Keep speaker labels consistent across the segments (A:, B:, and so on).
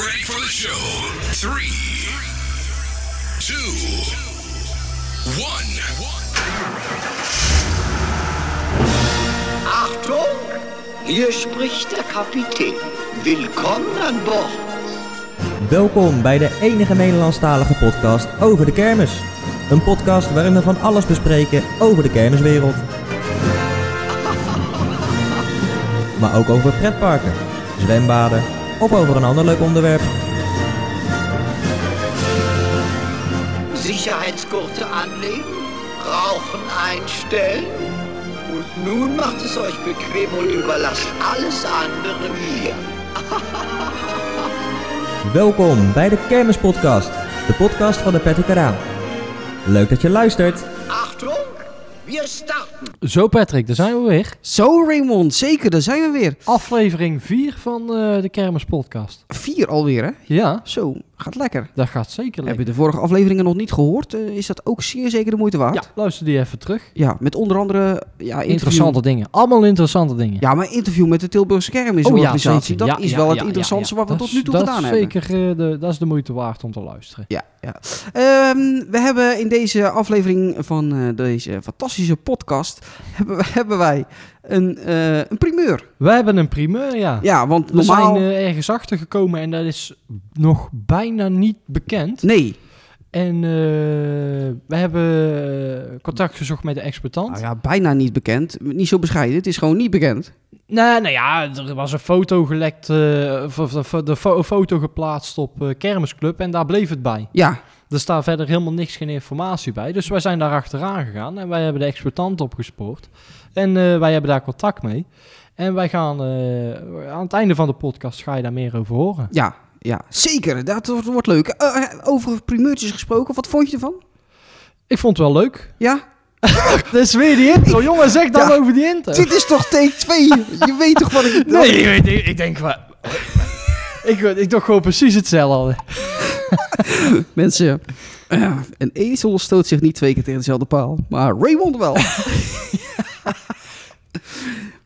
A: Show three, two, one.
B: Achtung! Hier spricht der Kapitän. Willkommen an Bord.
C: Welkom bij de enige Nederlandstalige podcast over de kermis. Een podcast waarin we van alles bespreken over de kermiswereld. Maar ook over pretparken, zwembaden of over een ander leuk onderwerp.
B: Sicherheitsgurte anlegen, Rauchen einstellen. Und nun macht es euch bequem und überlasst alles andere mir.
C: Welkom bij de Kermispodcast, de podcast van de Patrick Karaan. Leuk dat je luistert.
B: Achtung, we starten.
D: Zo Patrick, daar zijn we weer.
E: Zo Raymond, zeker, daar zijn we weer.
D: Aflevering 4 van eh, de Kermis Podcast.
E: Vier alweer, hè?
D: Ja,
E: Zo, gaat lekker.
D: dat gaat zeker
E: Heb
D: lekker.
E: je de vorige afleveringen nog niet gehoord? eh, is dat ook zeer zeker de moeite waard?
D: Ja, luister die even terug.
E: Ja, met onder andere... Ja, interview-
D: Interessante dingen. Allemaal interessante dingen.
E: Ja, maar interview met de Tilburgse Kermisorganisatie.
D: zeker.
E: dat
D: Oh Ja,
E: is
D: ja,
E: wel
D: ja,
E: het
D: ja,
E: interessantste
D: ja.
E: wat we
D: Dat
E: tot nu
D: is-
E: toe gedaan
D: dat is
E: hebben.
D: Zeker, eh, de, dat is de moeite waard om te luisteren.
E: Ja, ja. Ehm, we hebben in deze aflevering van eh, deze fantastische podcast... hebben, we- hebben wij een, eh, een primeur.
D: We hebben een primeur, ja.
E: Ja, want
D: We
E: normaal...
D: zijn eh, ergens achter gekomen en dat is nog bijna niet bekend.
E: Nee.
D: En eh, we hebben eh, contact gezocht met de exploitant.
E: Nou ja, bijna niet bekend. Niet zo bescheiden. Het is gewoon niet bekend.
D: Nou, nou ja, er was een foto gelekt, eh, of of- of de fo- foto geplaatst op eh, Kermisclub en daar bleef het bij.
E: Ja,
D: Er staat verder helemaal niks, geen informatie bij. Dus wij zijn daar achteraan gegaan en wij hebben de exploitant opgespoord. En eh, wij hebben daar contact mee. En wij gaan, eh, aan het einde van de podcast ga je daar meer over horen.
E: Ja, ja zeker. Dat wordt, wordt leuk. Eh, eh, over primeurtjes gesproken, wat vond je ervan?
D: Ik vond het wel leuk.
E: Ja?
D: Dat is weer die intro. Jongen, zeg dan
E: Ja.
D: over die intro.
E: Dit is toch take 2? je weet toch wat ik...
D: Eh. Nee, ik, weet- ik, ik denk wel... ik, ik dacht gewoon precies hetzelfde.
E: Mensen, eh, een ezel stoot zich niet twee keer tegen dezelfde paal. Maar Raymond wel.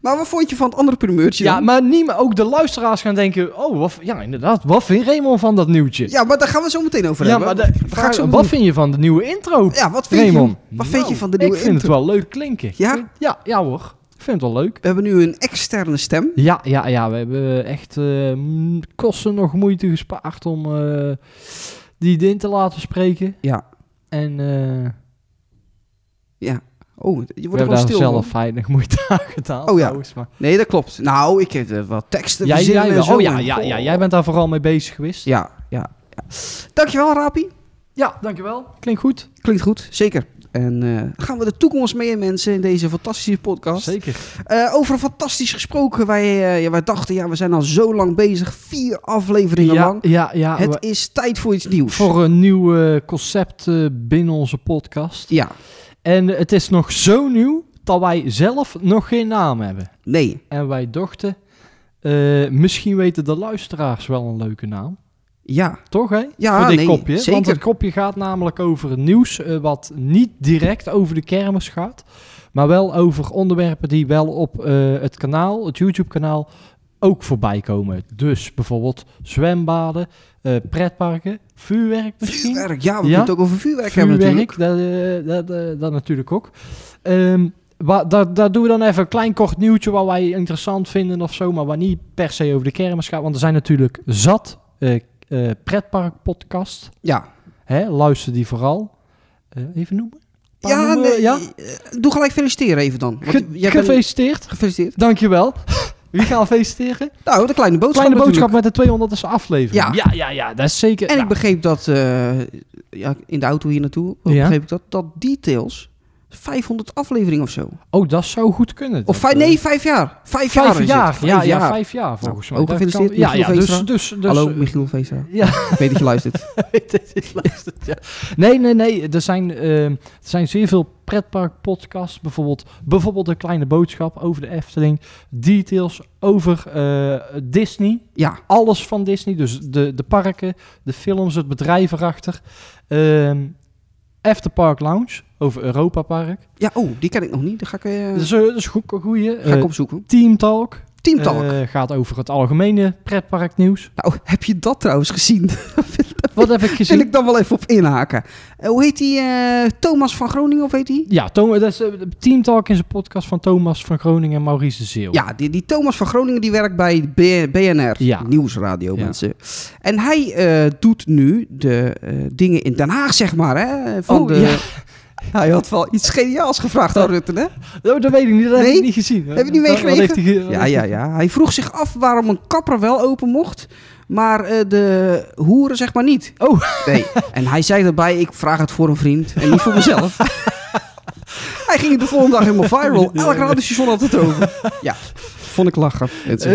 E: maar wat vond je van het andere primeurtje
D: Ja,
E: dan?
D: maar niet, maar ook de luisteraars gaan denken... Oh, wat, ja, inderdaad, wat vindt Raymond van dat nieuwtje?
E: ja, maar daar gaan we zo meteen over
D: Ja,
E: hebben.
D: maar de-
E: Dat ga ik zo
D: vraag-
E: meteen-
D: wat vind je van de nieuwe intro?
E: Ja, wat vind,
D: Raymond.
E: je, wat vind je
D: Nou,
E: van de nieuwe
D: Ik vind
E: intro?
D: het wel leuk klinken.
E: Ja?
D: Ja, ja hoor. Ik vind het wel leuk.
E: We hebben nu een externe stem.
D: Ja, ja, ja. We hebben echt eh, mm, kosten nog moeite gespaard om eh, die in te laten spreken.
E: Ja.
D: En eh
E: Ja. Oh,
D: we
E: je wordt er
D: hebben
E: wel
D: daar
E: stil
D: zelf
E: van.
D: weinig moeite aan gedaan.
E: Oh ja.
D: trouwens, maar
E: Nee, dat klopt. Nou, ik heb er wel teksten
D: jij,
E: verzinnen
D: jij
E: en
D: wel.
E: zo.
D: Oh ja,
E: En-
D: ja, ja,
E: Goh.
D: jij bent daar vooral mee bezig geweest.
E: Ja, ja, ja. Dankjewel, Rapi.
D: Ja, dankjewel. Klinkt goed.
E: Klinkt goed, zeker. En eh, gaan we de toekomst mee in, mensen, in deze fantastische podcast.
D: Zeker.
E: Eh, over een fantastisch gesproken. Wij, eh, ja, wij dachten, ja, we zijn al zo lang bezig. Vier afleveringen
D: Ja,
E: lang.
D: ja, ja.
E: Het
D: we-
E: is tijd voor iets nieuws.
D: voor een nieuw eh, concept eh, binnen onze podcast.
E: Ja,
D: En het is nog zo nieuw dat wij zelf nog geen naam hebben.
E: nee.
D: En wij dachten, eh, misschien weten de luisteraars wel een leuke naam.
E: Ja,
D: Toch, hè?
E: Ja,
D: Voor dit
E: nee,
D: kopje. Want
E: zeker.
D: het kopje gaat namelijk over het nieuws eh, wat niet direct over de kermis gaat. Maar wel over onderwerpen die wel op eh, het kanaal, het YouTube-kanaal, ook voorbij komen. Dus bijvoorbeeld zwembaden, eh, pretparken, vuurwerk misschien.
E: vuurwerk. Ja, we
D: Ja?
E: moeten het ook over vuurwerk, hebben natuurlijk.
D: Vuurwerk, dat, eh, dat, eh, dat natuurlijk ook. Ehm wa- daar, daar doen we dan even een klein kort nieuwtje wat wij interessant vinden of zo, maar waar niet per se over de kermis gaat. Want er zijn natuurlijk zat eh eh pretpark podcast.
E: Ja.
D: Hè, luister die vooral. Eh, even noemen. Paar
E: Ja,
D: noemen,
E: nee,
D: ja?
E: eh, Doe gelijk feliciteren even dan. Want
D: Ge-
E: jij bent-
D: gefeliciteerd.
E: Gefeliciteerd.
D: Dankjewel. Wie gaan feliciteren?
E: Nou, de kleine boodschap
D: Kleine boodschap
E: natuurlijk.
D: met de 200ste aflevering.
E: Ja.
D: ja, ja, ja, dat is zeker.
E: En
D: ja.
E: ik begreep dat eh, ja, in de auto hier naartoe eh,
D: Ja.
E: begreep ik dat, dat Details 500 afleveringen of zo.
D: Oh, dat zou goed kunnen.
E: Of
D: Dat,
E: vijf,
D: eh,
E: nee, vijf jaar. Vijf,
D: Vijf
E: jaar. is
D: jaar,
E: het.
D: ja, ja, vijf jaar volgens mij.
E: ook
D: Dat
E: gefeliciteerd,
D: kan- Ja, ja,
E: Michiel
D: dus,
E: Veenstra.
D: dus, dus,
E: Hallo, Michiel Veestra.
D: Ja,
E: Ik weet dat je luistert.
D: weet dat je luistert, ja. Nee, nee, nee. Er zijn, ehm, er zijn zeer veel pretparkpodcasts. Bijvoorbeeld, bijvoorbeeld een kleine boodschap over de Efteling. Details over eh, Disney.
E: Ja,
D: Alles van Disney. Dus de, de parken, de films, het bedrijf erachter. Ehm After Park Lounge over Europa Park.
E: ja oh, die ken ik nog niet. Daar ga ik, eh,
D: Dus, eh, dat is goed, een goeie.
E: ga ik
D: Eh,
E: opzoeken.
D: Team Talk.
E: Teamtalk.
D: Eh, gaat over het algemene pretparknieuws.
E: nou, heb je dat trouwens gezien?
D: Wat heb ik gezien?
E: Wil ik dan wel even op inhaken. Eh, hoe heet die? eh, Thomas van Groningen of heet die?
D: Ja, Thomas, dat is, eh, Team Talk is een podcast van Thomas van Groningen en Maurice de Zeeuw.
E: Ja, die, die Thomas van Groningen die werkt bij B- BNR,
D: Ja.
E: Nieuwsradio
D: Ja.
E: mensen. En hij eh, doet nu de eh, dingen in Den Haag, zeg maar. Hè, van
D: Oh,
E: de...
D: ja.
E: Hij had wel iets geniaals gevraagd aan Rutte, hè?
D: Oh, dat weet ik niet, dat heb
E: Nee?
D: ik niet gezien.
E: Heb je niet meegekregen? Ja,
D: Ja,
E: ja, ja. Hij vroeg zich af waarom een kapper wel open mocht, maar eh, de hoeren zeg maar niet.
D: Oh.
E: Nee. En hij zei daarbij, ik vraag het voor een vriend en niet voor mezelf. hij ging de volgende dag helemaal viral. Elk radiostation had het over. Ja, vond ik lachen.
D: Eh,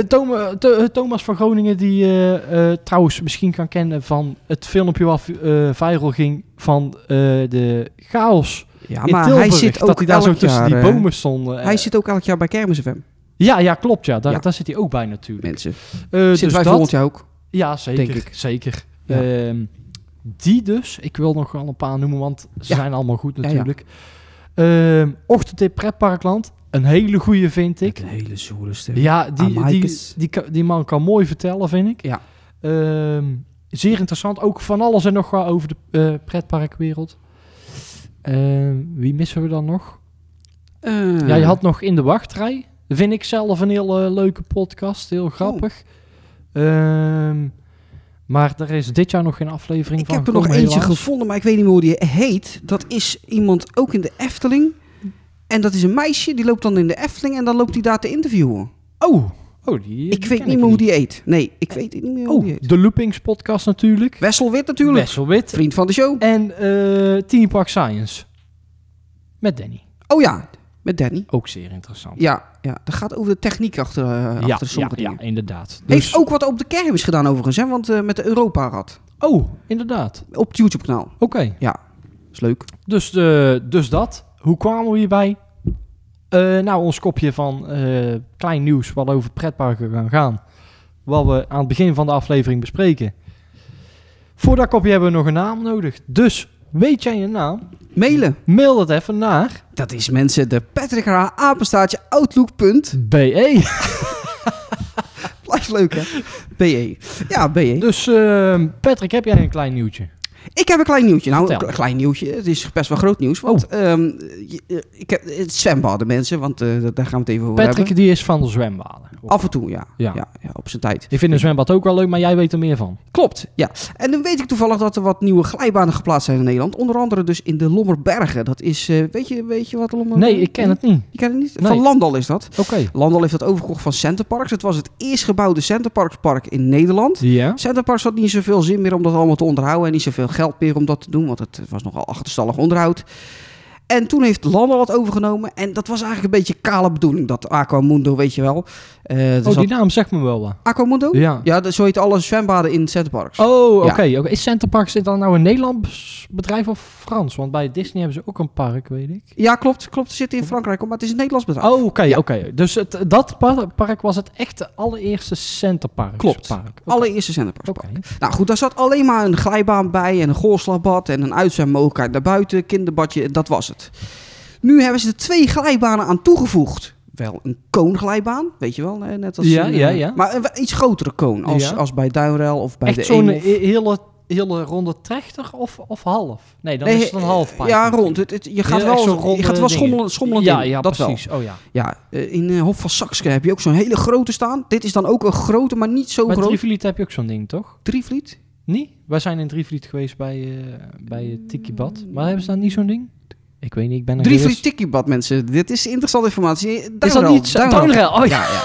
D: Thomas van Groningen, die eh, eh, trouwens misschien kan kennen van het filmpje wat eh, viral ging van eh, de chaos
E: Ja,
D: in
E: maar
D: Tilburg.
E: hij zit
D: dat
E: ook
D: hij daar
E: elk
D: zo tussen
E: jaar,
D: die
E: eh,
D: bomen stonden. Eh,
E: Hij zit ook elk jaar bij Kermis FM,
D: ja, ja, klopt. Ja. Daar,
E: Ja.
D: daar zit hij ook bij natuurlijk.
E: mensen.
D: Eh,
E: Zitten
D: dus
E: wij
D: dat-
E: volgend jaar ook?
D: Ja, zeker.
E: Denk ik.
D: Zeker.
E: Ja.
D: Ehm, die dus, ik wil nog wel een paar noemen, want ze
E: Ja.
D: zijn allemaal goed
E: ja.
D: natuurlijk. Ehm Ochtendtip Pretparkland, een hele goeie vind ik.
E: Een hele zure stem.
D: Ja, die, die,
E: Amaikes.
D: die, ka- die man kan mooi vertellen, vind ik.
E: Ja.
D: Ehm, zeer interessant, ook van alles en nog wat over de eh, pretparkwereld. Ehm, wie missen we dan nog?
E: Eh,
D: Ja, je had nog In de Wachtrij. Vind ik zelf een heel eh, leuke podcast,
E: Oh.
D: heel grappig. Ehm, maar er is dit jaar nog geen aflevering
E: Ik
D: van
E: heb er nog
D: gekomen,
E: eentje
D: helaas.
E: gevonden, maar ik weet niet meer hoe die heet. Dat is iemand ook in de Efteling. En dat is een meisje, die loopt dan in de Efteling en dan loopt die daar te interviewen.
D: Oh, oh die, die
E: ik weet
D: ken
E: niet meer hoe die heet. Nee, ik weet niet meer hoe die
D: Oh,
E: heet.
D: de Loopings podcast natuurlijk.
E: Wessel Wit natuurlijk,
D: Wessel Wit.
E: vriend van de show.
D: En eh Team Park Science. Met Danny.
E: Oh ja, met Danny.
D: Ook zeer interessant.
E: Ja, ja. dat gaat over de techniek achter, eh, achter sommige
D: ja, Dus-
E: dingen.
D: inderdaad.
E: Heeft ook wat op de kermis gedaan overigens, hè? want eh, met de Europa-rad.
D: Oh, inderdaad.
E: Op het YouTube-kanaal.
D: Oké.
E: Ja, is leuk.
D: Dus, eh, dus dat. Hoe kwamen we hierbij? Eh, nou, ons kopje van eh, klein nieuws wat over pretparken gaan gaan. Wat we aan het begin van de aflevering bespreken. Voor dat kopje hebben we nog een naam nodig. Dus weet jij een naam?
E: Mailen.
D: Mail dat even naar
E: Dat is mensen de Patrick H. apenstaartje outlook. punt.
D: BE.
E: Blijft leuk hè? BE. E. Ja, BE.
D: Dus eh, Patrick, heb jij een klein nieuwtje?
E: Ik heb een klein nieuwtje. Nou,
D: Vertel.
E: een klein nieuwtje. Het is best wel groot nieuws. Want ehm, je- eh, ik heb, het zwembaden mensen, want eh, daar gaan we het even over
D: Patrick
E: hebben.
D: die is van de zwembaden.
E: Af en toe, ja.
D: Ja.
E: Ja. Ja, op zijn tijd.
D: Ik vind een zwembad ook wel leuk, maar jij weet er meer van.
E: Klopt, ja. En dan weet ik toevallig dat er wat nieuwe glijbanen geplaatst zijn in Nederland. Onder andere dus in de Lommerbergen. Dat is, eh, weet, je, weet je wat de Lommerbergen
D: Nee, ik ken het niet.
E: Je kent het niet?
D: Nee.
E: Van Landal is dat.
D: Oké.
E: Landal heeft dat overgekocht van Centerparks. Het was het eerst gebouwde Centerparkspark in Nederland.
D: Ja.
E: Centerparks had niet zoveel zin meer om dat allemaal te onderhouden en niet zoveel geld meer om dat te doen, want het was nogal achterstallig onderhoud. En toen heeft Landal wat overgenomen en dat was eigenlijk een beetje kale bedoeling, dat Aquamundo, weet je wel. Eh er
D: Oh, die
E: zat-
D: naam zegt me wel wat.
E: Aquamundo?
D: Ja.
E: Ja, dat- zo heet alle zwembaden in Centerparks.
D: Oh, oké.
E: Ja.
D: oké. Is Centerparks dit dan nou een Nederlands bedrijf of Frans? Want bij Disney hebben ze ook een park, weet ik.
E: Ja, klopt, klopt. Ze zitten in Frankrijk, maar het is een Nederlands bedrijf.
D: Oh, oké,
E: Ja.
D: oké. Dus het, dat pa- park was het echte allereerste Centerparks
E: Klopt.
D: Park. Oké.
E: Allereerste Centerparks.
D: Oké.
E: Nou goed, daar zat alleen maar een glijbaan bij en een golfslagbad en een uitzendmogelijkheid naar buiten, kinderbadje, dat was het. Nu hebben ze er twee glijbanen aan toegevoegd. Wel een koonglijbaan, weet je wel, eh, net als...
D: Ja,
E: een, eh,
D: ja, ja.
E: Maar een iets grotere koon, als,
D: Ja.
E: als bij Duinrel of bij
D: Echt
E: de
D: zo'n eh,
E: Eemhof.
D: he- hele, hele ronde trechter of, of half? Nee, dan is het een
E: eh,
D: half park.
E: Ja, rond. Het, het- je gaat
D: Heel echt
E: wel,
D: zo'n
E: je
D: ronde
E: gaat wel
D: ding.
E: schommelend, schommelend
D: ja,
E: in,
D: Ja,
E: dat wel.
D: precies. Oh ja.
E: Ja, eh, in eh, Hof van Saxke heb je ook zo'n hele grote staan. Dit is dan ook een grote, maar niet zo
D: Bij
E: groot.
D: Drievliet heb je ook zo'n ding, toch?
E: Drievliet?
D: Niet? Wij zijn in Drievliet geweest bij, eh bij eh, Tiki Bad. Maar hebben ze daar niet zo'n ding? Ik weet niet, ik ben er
E: Drie
D: geweest.
E: free tikkie bad mensen. Dit is interessante informatie.
D: Is dat
E: Duinrel,
D: niet zo-
E: Duinrel.
D: Duinrel, oh ja.
E: ja, ja.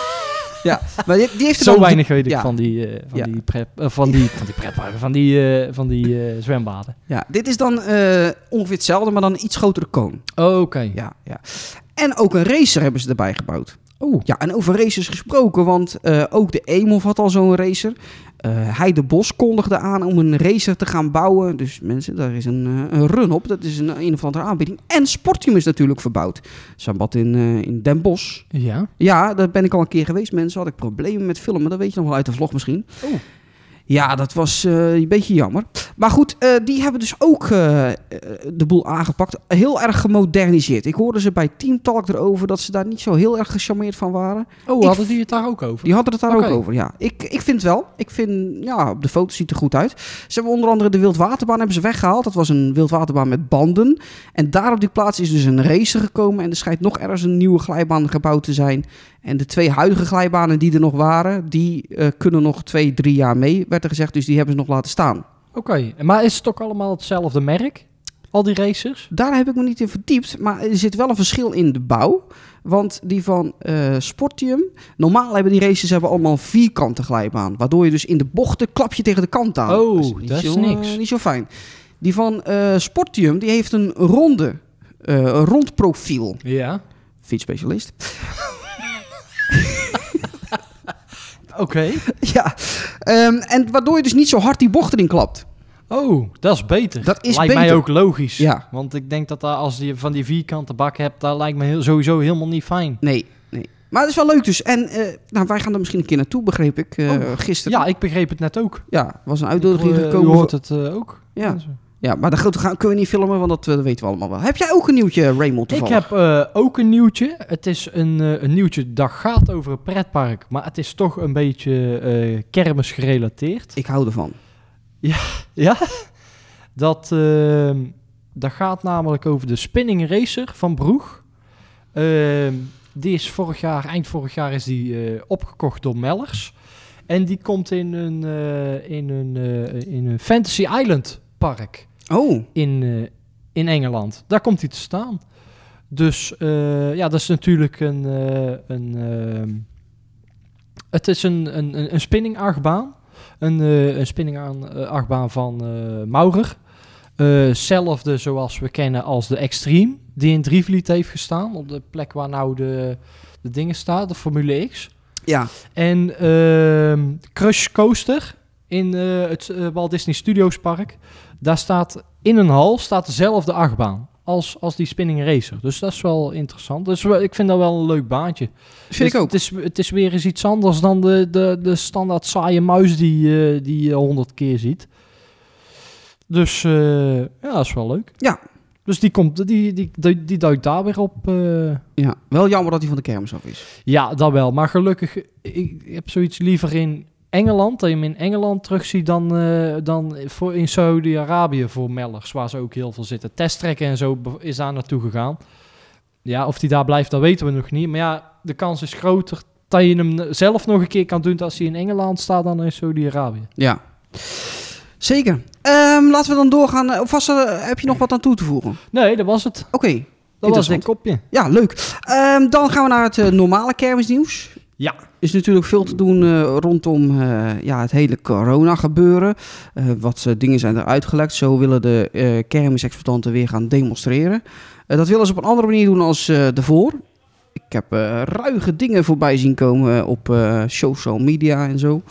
E: Ja, maar die, die heeft er
D: Zo
E: dan-
D: weinig weet ik
E: ja,
D: van die, eh, van,
E: Ja.
D: die prep, eh, van die van die pretparken, van die, eh, van die eh, zwembaden.
E: Ja, dit is dan eh, ongeveer hetzelfde, maar dan een iets grotere koon.
D: Oh, Oké.
E: Ja, ja. En ook een racer hebben ze erbij gebouwd.
D: Oh.
E: Ja, en over racers gesproken, want eh, ook de Eemhof had al zo'n racer. Eh Heide Bos kondigde aan om een racer te gaan bouwen. Dus mensen, daar is een, eh, een run op. Dat is een, een of andere aanbieding. En Sportium is natuurlijk verbouwd. Zambad in, eh, in Den Bosch.
D: Ja.
E: Ja, daar ben ik al een keer geweest, mensen. Had ik problemen met filmen. Dat weet je nog wel uit de vlog misschien.
D: Oeh.
E: Ja, dat was eh, een beetje jammer. Maar goed, eh, die hebben dus ook eh, eh, de boel aangepakt. Heel erg gemoderniseerd. Ik hoorde ze bij Team Talk erover dat ze daar niet zo heel erg gecharmeerd van waren.
D: Oh,
E: Ik-
D: hadden die het daar ook over?
E: Die hadden het daar
D: Oké.
E: ook over, ja. Ik, ik vind het wel. Ik vind, ja, op de foto ziet het er goed uit. Ze hebben onder andere de wildwaterbaan hebben ze weggehaald. Dat was een wildwaterbaan met banden. En daar op die plaats is dus een racer gekomen. En er schijnt nog ergens een nieuwe glijbaan gebouwd te zijn. En de twee huidige glijbanen die er nog waren, die eh, kunnen nog twee, drie jaar mee, werd er gezegd. Dus die hebben ze nog laten staan.
D: Oké, maar is het ook allemaal hetzelfde merk? Al die racers?
E: Daar heb ik me niet in verdiept, maar er zit wel een verschil in de bouw. Want die van eh, Sportium, normaal hebben die races hebben allemaal een vierkante glijbaan. Waardoor je dus in de bochten klap je tegen de kant aan.
D: Oh,
E: niet
D: dat is
E: zo, eh,
D: niks.
E: niet zo fijn. Die van eh, Sportium, die heeft een ronde, eh, een rond profiel.
D: Ja.
E: Fietsspecialist.
D: Oké.
E: ja, ehm, en waardoor je dus niet zo hard die bochten in klapt.
D: Oh, dat is beter.
E: Dat is
D: lijkt mij
E: beter.
D: ook logisch.
E: Ja.
D: Want ik denk dat daar, als je van die vierkante bak hebt, dat lijkt me heel, sowieso helemaal niet fijn.
E: Nee, nee. Maar het is wel leuk dus. En eh, nou, wij gaan er misschien een keer naartoe, begreep ik, eh,
D: Oh,
E: gisteren.
D: Ja, ik begreep het net ook.
E: Ja, was een uitnodiging
D: Ik, eh,
E: gekomen.
D: U
E: voor-
D: hoort het eh, ook.
E: Ja. Ja, maar dat goed, gaan, kunnen we niet filmen, want dat, eh, dat weten we allemaal wel. Heb jij ook een nieuwtje, Raymond,
D: Ik
E: toevallig?
D: heb eh, ook een nieuwtje. Het is een, eh, een nieuwtje dat gaat over een pretpark, maar het is toch een beetje eh kermis gerelateerd.
E: Ik hou ervan.
D: Ja? Dat, ehm, dat gaat namelijk over de Spinning Racer van Broeg. Ehm, die is vorig jaar, eind vorig jaar is die eh, opgekocht door Mellers. En die komt in een, eh, in een, eh, in een Fantasy Island park
E: Oh,
D: in, eh, in Engeland. Daar komt hij te staan. Dus eh, ja, dat is natuurlijk een. eh, een ehm, het is een, een, een- een spinning achtbaan. Een, eh, een spinning aan, eh, achtbaan van eh, Maurer. Hetzelfde zoals we kennen als de Extreme. Die in Drievliet heeft gestaan. Op de plek waar nou de, de dingen staan. De Formule X.
E: ja.
D: En ehm, Crush Coaster in eh, het eh, Walt Disney Studios Park. Daar staat in een hal staat dezelfde achtbaan als, als die Spinning Racer. Dus dat is wel interessant. Dus wel- ik vind dat wel een leuk baantje.
E: Vind
D: Dus
E: ik ook.
D: Het is, het is weer eens iets anders dan de, de, de standaard saaie muis die, eh, die je honderd keer ziet. Dus eh, ja, dat is wel leuk.
E: Ja.
D: Dus die, komt, die, die, die, die duikt daar weer op. eh,
E: Ja, wel jammer dat hij van de kermis af is.
D: ja, dat wel. Maar gelukkig, ik heb zoiets liever in Engeland, dat je hem in Engeland terugziet dan, eh, dan voor in Saudi-Arabië voor Mellers, waar ze ook heel veel zitten. Testtrekken en zo be- is daar naartoe gegaan. Ja, of die daar blijft, dat weten we nog niet. Maar ja, de kans is groter dat je hem zelf nog een keer kan doen als hij in Engeland staat dan in Saudi-Arabië.
E: Ja. Zeker. Ehm, laten we dan doorgaan. Eh, Of was er, heb je nog wat aan toe te voegen? Oké.
D: Nee, dat was het. Dat was
E: Interessant.
D: dit kopje.
E: Ja, leuk. Ehm, dan gaan we naar het eh, normale kermisnieuws.
D: Ja.
E: Is natuurlijk veel te doen eh, rondom eh, ja, het hele corona gebeuren. Eh, wat eh, dingen zijn er uitgelekt. Zo willen de eh kermisexploitanten weer gaan demonstreren. Eh, dat willen ze op een andere manier doen als eh daarvoor. Ik heb eh, ruige dingen voorbij zien komen eh, op eh, social media en zo.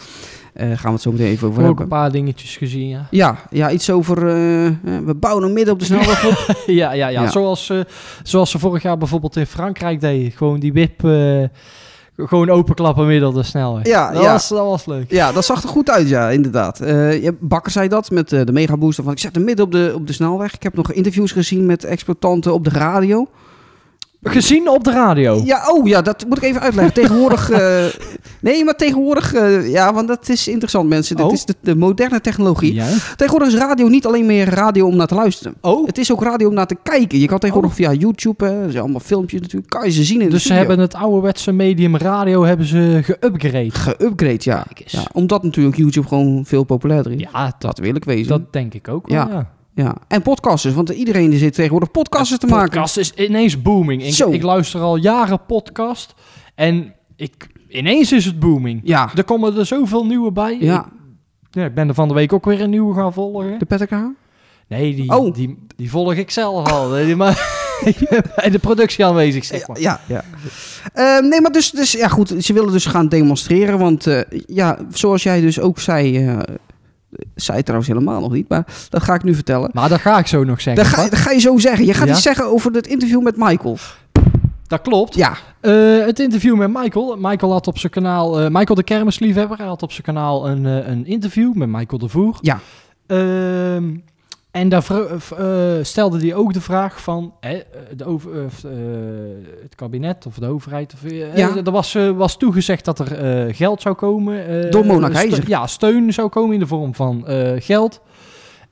E: Eh gaan we het zo meteen even
D: Ik
E: over
D: heb ook
E: hebben.
D: een paar dingetjes gezien, ja.
E: Ja, ja, iets over eh, eh, we bouwen hem midden op de snelweg op.
D: Ja, ja, ja.
E: Ja.
D: Zoals, eh, zoals ze vorig jaar bijvoorbeeld in Frankrijk deden. Gewoon die wip eh, gewoon openklappen midden op de snelweg.
E: Ja,
D: dat,
E: ja.
D: Was, dat was leuk.
E: Ja, dat zag er goed uit, ja, inderdaad. Eh, ja, Bakker zei dat met eh, de megabooster. Van, ik zet hem midden op de, op de snelweg. Ik heb nog interviews gezien met exploitanten op de radio.
D: Oh. Gezien op de radio.
E: Ja, oh ja, dat moet ik even uitleggen. Tegenwoordig... eh, nee, maar tegenwoordig... eh, ja, want dat is interessant, mensen. Dat
D: Oh.
E: is de, de moderne technologie.
D: Ja.
E: Tegenwoordig is radio niet alleen meer radio om naar te luisteren.
D: Oh,
E: Het is ook radio om naar te kijken. Je kan tegenwoordig via YouTube, hè, er zijn allemaal filmpjes natuurlijk, kan je ze zien in de
D: dus ze
E: studio.
D: hebben het ouderwetse medium radio hebben ze geüpgrade.
E: geüpgrade, ja.
D: Kijk eens.
E: ja. Omdat natuurlijk YouTube gewoon veel populairder is.
D: Ja, dat,
E: Dat wil ik wezen.
D: dat denk ik ook wel,
E: Ja.
D: ja.
E: Ja. En podcasters, want iedereen zit tegenwoordig podcasters te maken.
D: Podcast is ineens booming. Ik,
E: Zo.
D: ik luister al jaren podcast en ik, ineens is het booming.
E: Ja.
D: Er komen er zoveel nieuwe bij.
E: ja.
D: Ik, ja, ik ben er van de week ook weer een nieuwe gaan volgen.
E: De PetterK?
D: Nee, die,
E: Oh.
D: die, die volg ik zelf al. Die- maar ik ben bij de productie aanwezig, zeg maar.
E: Ja. ja. Ehm, nee, maar dus, dus, ja goed, ze willen dus gaan demonstreren. Want eh, ja, zoals jij dus ook zei, eh, zei het trouwens helemaal nog niet, maar dat ga ik nu vertellen.
D: Maar dat ga ik zo nog zeggen.
E: Dat ga, dat ga je zo zeggen. Je gaat
D: Ja?
E: iets zeggen over het interview met Michael.
D: Dat klopt.
E: Ja,
D: Eh, het interview met Michael. Michael had op zijn kanaal, eh, Michael de kermisliefhebber, hij had op zijn kanaal een, eh, een interview met Michael de Voer.
E: Ja.
D: Ehm, en daar vro- eh, v- eh, stelde hij ook de vraag van eh, de over, eh, of, eh, het kabinet of de overheid. Of, eh,
E: Ja.
D: eh, er was, eh, was toegezegd dat er eh, geld zou komen. eh,
E: Door Mona
D: ste-
E: Keizer.
D: ja, steun zou komen in de vorm van eh, geld.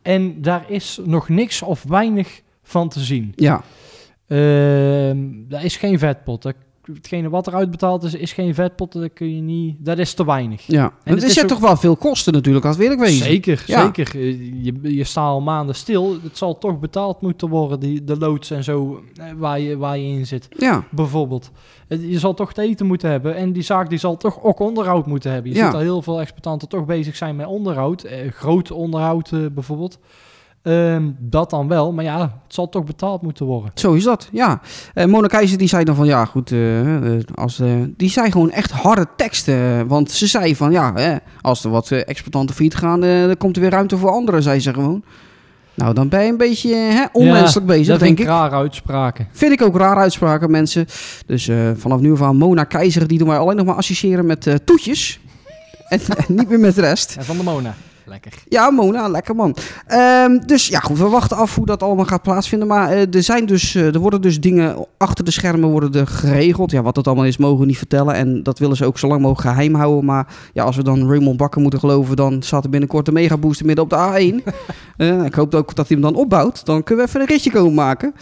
D: En daar is nog niks of weinig van te zien.
E: ja.
D: Ehm, dat is geen vetpot. Dat, hetgene wat er uitbetaald is, is geen vetpot. Dat kun je niet. Dat is te weinig.
E: ja. Want
D: het
E: het
D: is
E: is,
D: ook-
E: toch wel veel kosten natuurlijk, als we eerlijk wezen.
D: Zeker,
E: Ja.
D: zeker. Eh, Je, je staat al maanden stil. Het zal toch betaald moeten worden, die, de loods en zo, eh, waar je, waar je in zit.
E: Ja,
D: Bijvoorbeeld. Het- Je zal toch te eten moeten hebben. En die zaak die zal toch ook onderhoud moeten hebben. Je
E: Ja.
D: ziet al heel veel exploitanten toch bezig zijn met onderhoud. Eh, groot onderhoud eh, bijvoorbeeld. Ehm, dat dan wel. Maar ja, het zal toch betaald moeten worden.
E: zo is dat. Ja. Eh Mona Keizer die zei dan van, ja goed, eh, eh, als, eh, die zei gewoon echt harde teksten. eh, Want ze zei van, ja, eh, als er wat eh, exploitanten failliet gaan, eh, dan komt er weer ruimte voor anderen, zei ze gewoon. Nou, dan ben je een beetje eh, hè, onmenselijk
D: Ja,
E: bezig,
D: dat
E: denk
D: vind
E: ik.
D: ik raar uitspraken.
E: Vind ik ook raar uitspraken, mensen. Dus eh, vanaf nu van Mona Keizer, die doen wij alleen nog maar associëren met eh, toetjes. en, en niet meer met de rest.
D: En van de Mona. Lekker.
E: Ja, Mona, lekker man. Ehm, dus ja, goed, we wachten af hoe dat allemaal gaat plaatsvinden. Maar eh, er, zijn dus, eh, er worden dus dingen achter de schermen worden er geregeld. Ja, wat het allemaal is, mogen we niet vertellen. En dat willen ze ook zo lang mogelijk geheim houden. Maar ja, als we dan Raymond Bakker moeten geloven, dan staat er binnenkort een megabooster midden op de A1. Eh, ik hoop ook dat hij hem dan opbouwt. Dan kunnen we even een ritje komen maken.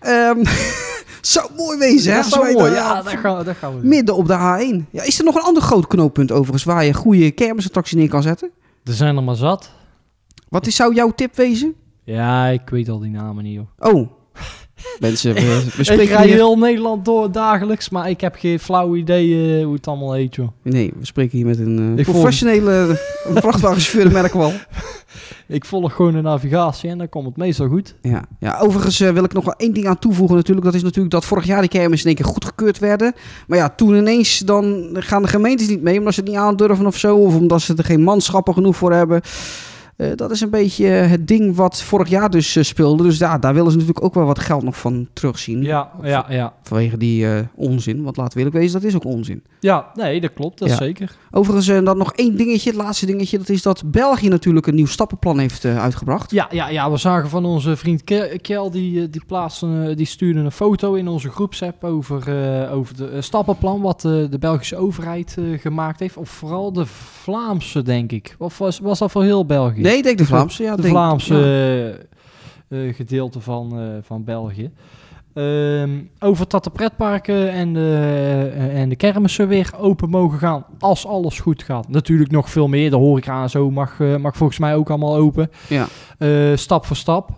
E: Ehm zou mooi wezen, hè?
D: dat is
E: als
D: wel
E: wij
D: mooi.
E: daar-
D: Ja, dat gaan, we- dat gaan we doen.
E: Midden op de A1. Ja, is er nog een ander groot knooppunt overigens waar je goede kermisattracties neer kan zetten?
D: Er zijn er maar zat.
E: Wat is, zou jouw tip wezen?
D: Ja, ik weet al die namen niet, joh.
E: Oh. Mensen, we, we
D: ik
E: spreken
D: rij
E: hier...
D: heel Nederland door dagelijks, maar ik heb geen flauw idee eh, hoe het allemaal heet, joh.
E: Nee, we spreken hier met een eh,
D: Ik vond-
E: professionele eh, vrachtwagenchauffeur, merk ik wel.
D: Ik volg gewoon de navigatie en dan komt het meestal goed.
E: Ja, ja overigens eh, wil ik nog wel één ding aan toevoegen natuurlijk. Dat is natuurlijk dat vorig jaar die kermis in één keer goedgekeurd werden. Maar ja, toen ineens dan gaan de gemeentes niet mee omdat ze het niet aandurven of zo. Of omdat ze er geen manschappen genoeg voor hebben. Eh, dat is een beetje eh, het ding wat vorig jaar dus eh, speelde. Dus ja, daar willen ze natuurlijk ook wel wat geld nog van terugzien.
D: Ja, ja, ja.
E: Vanwege die eh, onzin. Want laten we eerlijk wezen, dat is ook onzin.
D: Ja, nee, dat klopt. Dat
E: Ja.
D: zeker.
E: Overigens, eh, dan nog één dingetje, het laatste dingetje. Dat is dat België natuurlijk een nieuw stappenplan heeft eh, uitgebracht.
D: Ja, ja, ja, we zagen van onze vriend Ke- Kjell, die, eh, die, plaatste, eh, die stuurde een foto in onze groepsapp over, eh, over de eh, stappenplan wat eh, de Belgische overheid eh, gemaakt heeft. Of vooral de Vlaamse, denk ik. Of was, was dat voor heel België?
E: Nee, ik denk de Vlaamse. Ja,
D: de
E: denk-
D: Vlaamse
E: ja.
D: eh, eh, gedeelte van, eh, van België. Ehm, over dat de pretparken en de, eh, en de kermissen weer open mogen gaan. Als alles goed gaat. Natuurlijk nog veel meer. De horeca en zo mag, eh, mag volgens mij ook allemaal open.
E: Ja.
D: Eh, stap voor stap.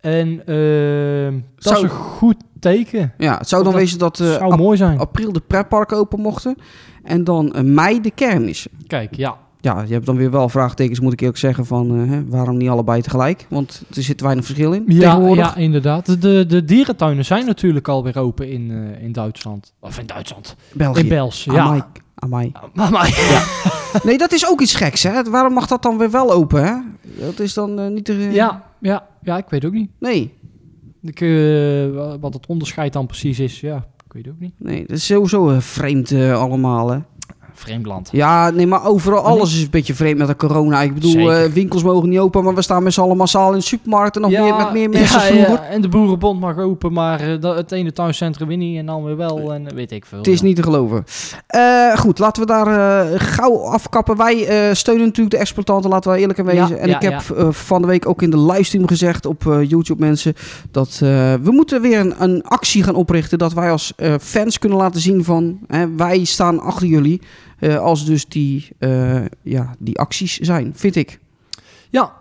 D: En ehm, dat
E: Zou-
D: is een goed teken.
E: Ja, het zou dan
D: Dat
E: wezen dat eh,
D: zou
E: ap-
D: mooi zijn.
E: april de pretparken open mochten. En dan eh, mei de kermissen.
D: Kijk, ja.
E: Ja, je hebt dan weer wel vraagtekens, moet ik eerlijk zeggen, van eh, hè, waarom niet allebei tegelijk? Want er zit weinig verschil in
D: Ja,
E: tegenwoordig.
D: ja, inderdaad. De, de dierentuinen zijn natuurlijk alweer open in, eh, in Duitsland. Of in Duitsland.
E: België.
D: In België, ja.
E: Amai. Amai.
D: Maar, maar,
E: Nee, dat is ook iets geks, hè? Waarom mag dat dan weer wel open, hè? Dat is dan eh, niet... de-
D: Ja, ja, ja, ik weet ook niet.
E: Nee,
D: Ik, eh, wa- wat het onderscheid dan precies is, ja, ik weet ook niet.
E: nee, dat is sowieso eh, vreemd eh, allemaal, hè?
D: Vreemdland.
E: Ja, nee, maar overal
D: Maar niet-
E: alles is een beetje vreemd met de corona. Ik bedoel,
D: Zeker.
E: eh, winkels mogen niet open, maar we staan met z'n allen massaal in de supermarkt en nog meer met meer mensen
D: ja, ja,
E: vroeger.
D: en de boerenbond mag open, maar eh, dat- het ene tuincentrum weer niet en dan weer wel en eh, weet ik veel.
E: Het is
D: ja.
E: niet te geloven. Eh, goed, laten we daar eh, gauw afkappen. Wij eh, steunen natuurlijk de exploitanten, laten we eerlijk en wezen.
D: Ja,
E: en
D: ja,
E: ik heb eh, van de week ook in de livestream gezegd op eh, YouTube mensen... dat eh, we moeten weer een, een actie gaan oprichten... dat wij als eh, fans kunnen laten zien van... Hè, wij staan achter jullie eh, als dus die, eh, ja, die acties zijn, vind ik.
D: Ja,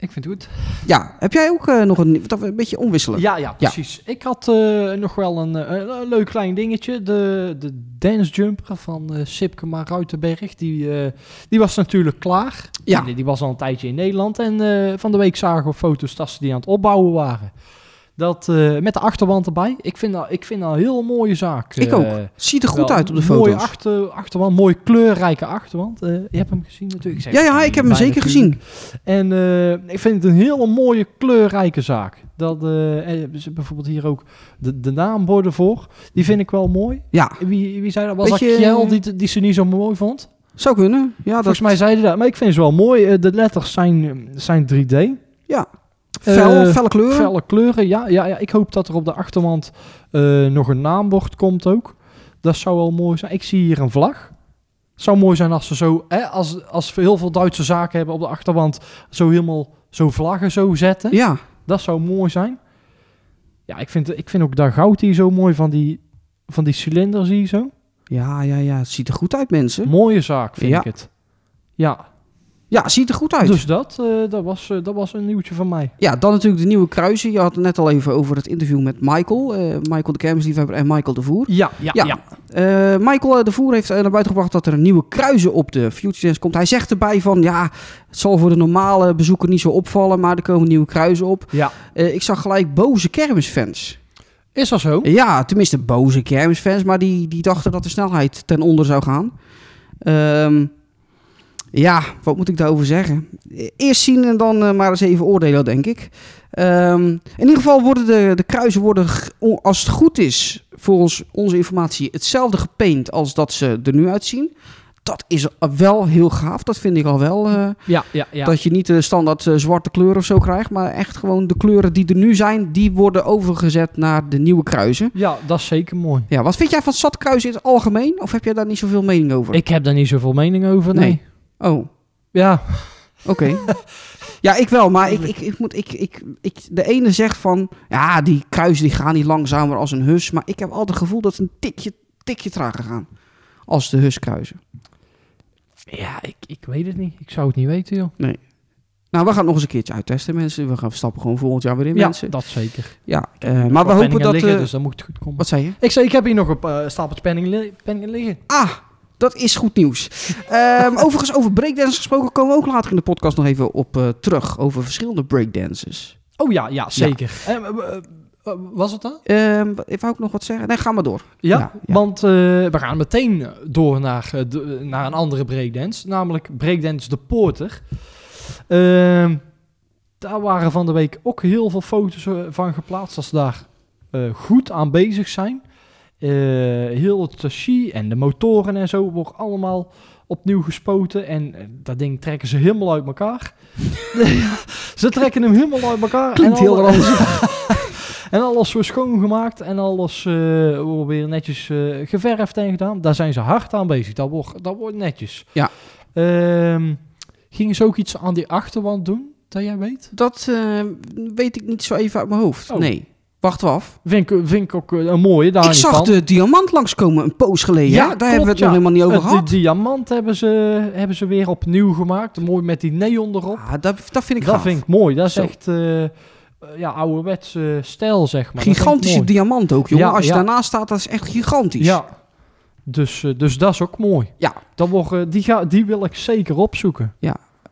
D: ik vind het goed.
E: Ja, heb jij ook eh, nog een, dat we een beetje omwisselen?
D: Ja, ja, precies. Ik had eh, nog wel een, eh, een- een leuk klein dingetje. De, de dance jumper van eh Sipkema Ruitenberg, die, eh, die was natuurlijk klaar.
E: Ja.
D: Die, die was al een tijdje in Nederland. En eh, van de week zagen we foto's dat ze die aan het opbouwen waren. Dat, eh, met de achterwand erbij. Ik vind dat, ik vind dat een heel mooie zaak.
E: Ik
D: eh,
E: ook. Ziet er goed
D: wel
E: uit op de
D: een Mooie
E: foto's.
D: achter, achterwand, mooie kleurrijke achterwand. Eh, je hebt hem gezien natuurlijk. zeg
E: Ja, ja,
D: het
E: ik heb hem
D: bij
E: zeker
D: natuurlijk.
E: gezien.
D: En eh, ik vind het een hele mooie kleurrijke zaak. Dat, eh, en er zit bijvoorbeeld hier ook de, de naamborden voor. Die vind ik wel mooi.
E: Ja,
D: Wie, wie zei dat? Was
E: Beetje-
D: dat Kjell die, die ze niet zo mooi vond?
E: zou kunnen. Ja, dat
D: Volgens mij zeiden dat. Maar ik vind ze wel mooi. Eh, de letters zijn, eh, zijn 3D.
E: fel,
D: eh,
E: felle kleuren.
D: Felle kleuren. Ja, ja, ja, ik hoop dat er op de achterwand eh, nog een naambord komt ook. Dat zou wel mooi zijn. Ik zie hier een vlag. Het zou mooi zijn als ze zo, hè, als, als we heel veel Duitse zaken hebben op de achterwand, zo helemaal zo vlaggen zo zetten.
E: Ja,
D: Dat zou mooi zijn. Ja, ik vind, ik vind ook daar goud hier zo mooi van die, van die cilinder zie je zo.
E: ja, ja, ja. Het ziet er goed uit, mensen.
D: Mooie zaak vind
E: Ja.
D: ik het. Ja,
E: Ja, het ziet er goed uit.
D: dus dat, eh, dat, was, eh, dat was een nieuwtje van mij.
E: Ja, dan natuurlijk de nieuwe kruisen. Je had het net al even over het interview met Michael. eh, Michael de kermisliefhebber en Michael de Voer.
D: Ja, ja,
E: Ja. Eh, Michael eh, de Voer heeft eh, naar buiten gebracht dat er een nieuwe kruisen op de Future Dance komt. Hij zegt erbij van, ja, het zal voor de normale bezoeker niet zo opvallen, maar er komen nieuwe kruisen op.
D: Ja.
E: Eh, ik zag gelijk boze kermisfans.
D: Is dat zo?
E: Ja, tenminste boze kermisfans, maar die, die dachten dat de snelheid ten onder zou gaan. Ehm, ja, wat moet ik daarover zeggen? Eerst zien en dan eh, maar eens even oordelen, denk ik. Ehm, in ieder geval worden de, de kruisen, worden, g- o- als het goed is, volgens onze informatie, hetzelfde gepaint als dat ze er nu uitzien. Dat is wel heel gaaf, dat vind ik al wel. eh,
D: Ja, ja, ja.
E: dat je niet de standaard eh, zwarte kleur of zo krijgt, maar echt gewoon de kleuren die er nu zijn, die worden overgezet naar de nieuwe kruisen.
D: ja, dat is zeker mooi.
E: Ja, wat vind jij van stadkruisen in het algemeen? Of heb jij daar niet zoveel mening over?
D: Ik heb daar niet zoveel mening over, nee.
E: Nee. Oh, oké.
D: Ja,
E: ja, ik wel, maar ik, ik, ik moet, ik, ik, ik, de ene zegt van, ja, die kruisen die gaan niet langzamer als een hus, maar ik heb altijd het gevoel dat ze een tikje, tikje trager gaan als de huskruisen.
D: ja ik, ik weet het niet. Ik zou het niet weten, joh.
E: Nou, we gaan het nog eens een keertje uittesten, mensen. We gaan stappen gewoon volgend jaar weer in, mensen.
D: dat zeker.
E: Ja, eh, maar we hopen dat...
D: Liggen,
E: eh,
D: dus dat moet goed komen.
E: Wat zei je?
D: Ik zei, ik heb hier nog een eh, stapeltje penningen li- penningen liggen.
E: Ah, dat is goed nieuws. Ehm, overigens, over breakdancers gesproken komen we ook later in de podcast nog even op eh, terug. Over verschillende breakdancers.
D: Oh ja, ja, zeker. Eh, eh, eh, eh, was het dat?
E: Ehm wat- wou ik nog wat zeggen? Nee, ga maar door.
D: Ja,
E: Nou, Ja, ja.
D: want eh, we gaan meteen door naar, eh, de- naar een andere breakdance. Namelijk Breakdance de Porter. Ehm, daar waren van de week ook heel veel foto's eh, van geplaatst. Dat ze daar eh, goed aan bezig zijn. Eh, heel het chassis en de motoren en zo wordt allemaal opnieuw gespoten. En eh, dat ding trekken ze helemaal uit elkaar. ze trekken hem helemaal uit elkaar.
E: Klinkt
D: en
E: heel
D: alle-
E: anders.
D: en alles wordt schoongemaakt en alles eh, wordt weer netjes eh, geverfd en gedaan. Daar zijn ze hard aan bezig. Dat wordt, dat wordt netjes.
E: Ja.
D: Ehm, gingen ze ook iets aan die achterwand doen, dat jij weet?
E: Dat eh, weet ik niet zo even uit mijn hoofd.
D: Oh.
E: Nee, wachten we af.
D: Vind ik, vind ik ook eh, een mooie. Daar
E: ik
D: niet
E: zag
D: van.
E: de diamant langskomen een poos geleden. Ja, daar
D: klopt,
E: hebben we het
D: ja.
E: nog helemaal niet over
D: Het-
E: gehad.
D: De diamant hebben ze, hebben ze weer opnieuw gemaakt. Mooi met die neon erop.
E: Ah, dat, dat vind ik
D: dat
E: gaaf.
D: vind ik mooi. Dat is
E: Zo.
D: echt eh ja, ouderwetse stijl, zeg maar. Dat vind ik
E: Gigantische
D: mooi.
E: diamant ook, jongen.
D: Ja,
E: Als je
D: ja.
E: daarnaast staat, dat is echt gigantisch.
D: Ja. Dus, eh, dus dat is ook mooi.
E: Ja.
D: Dat wordt, eh, die, ga, die wil ik zeker opzoeken.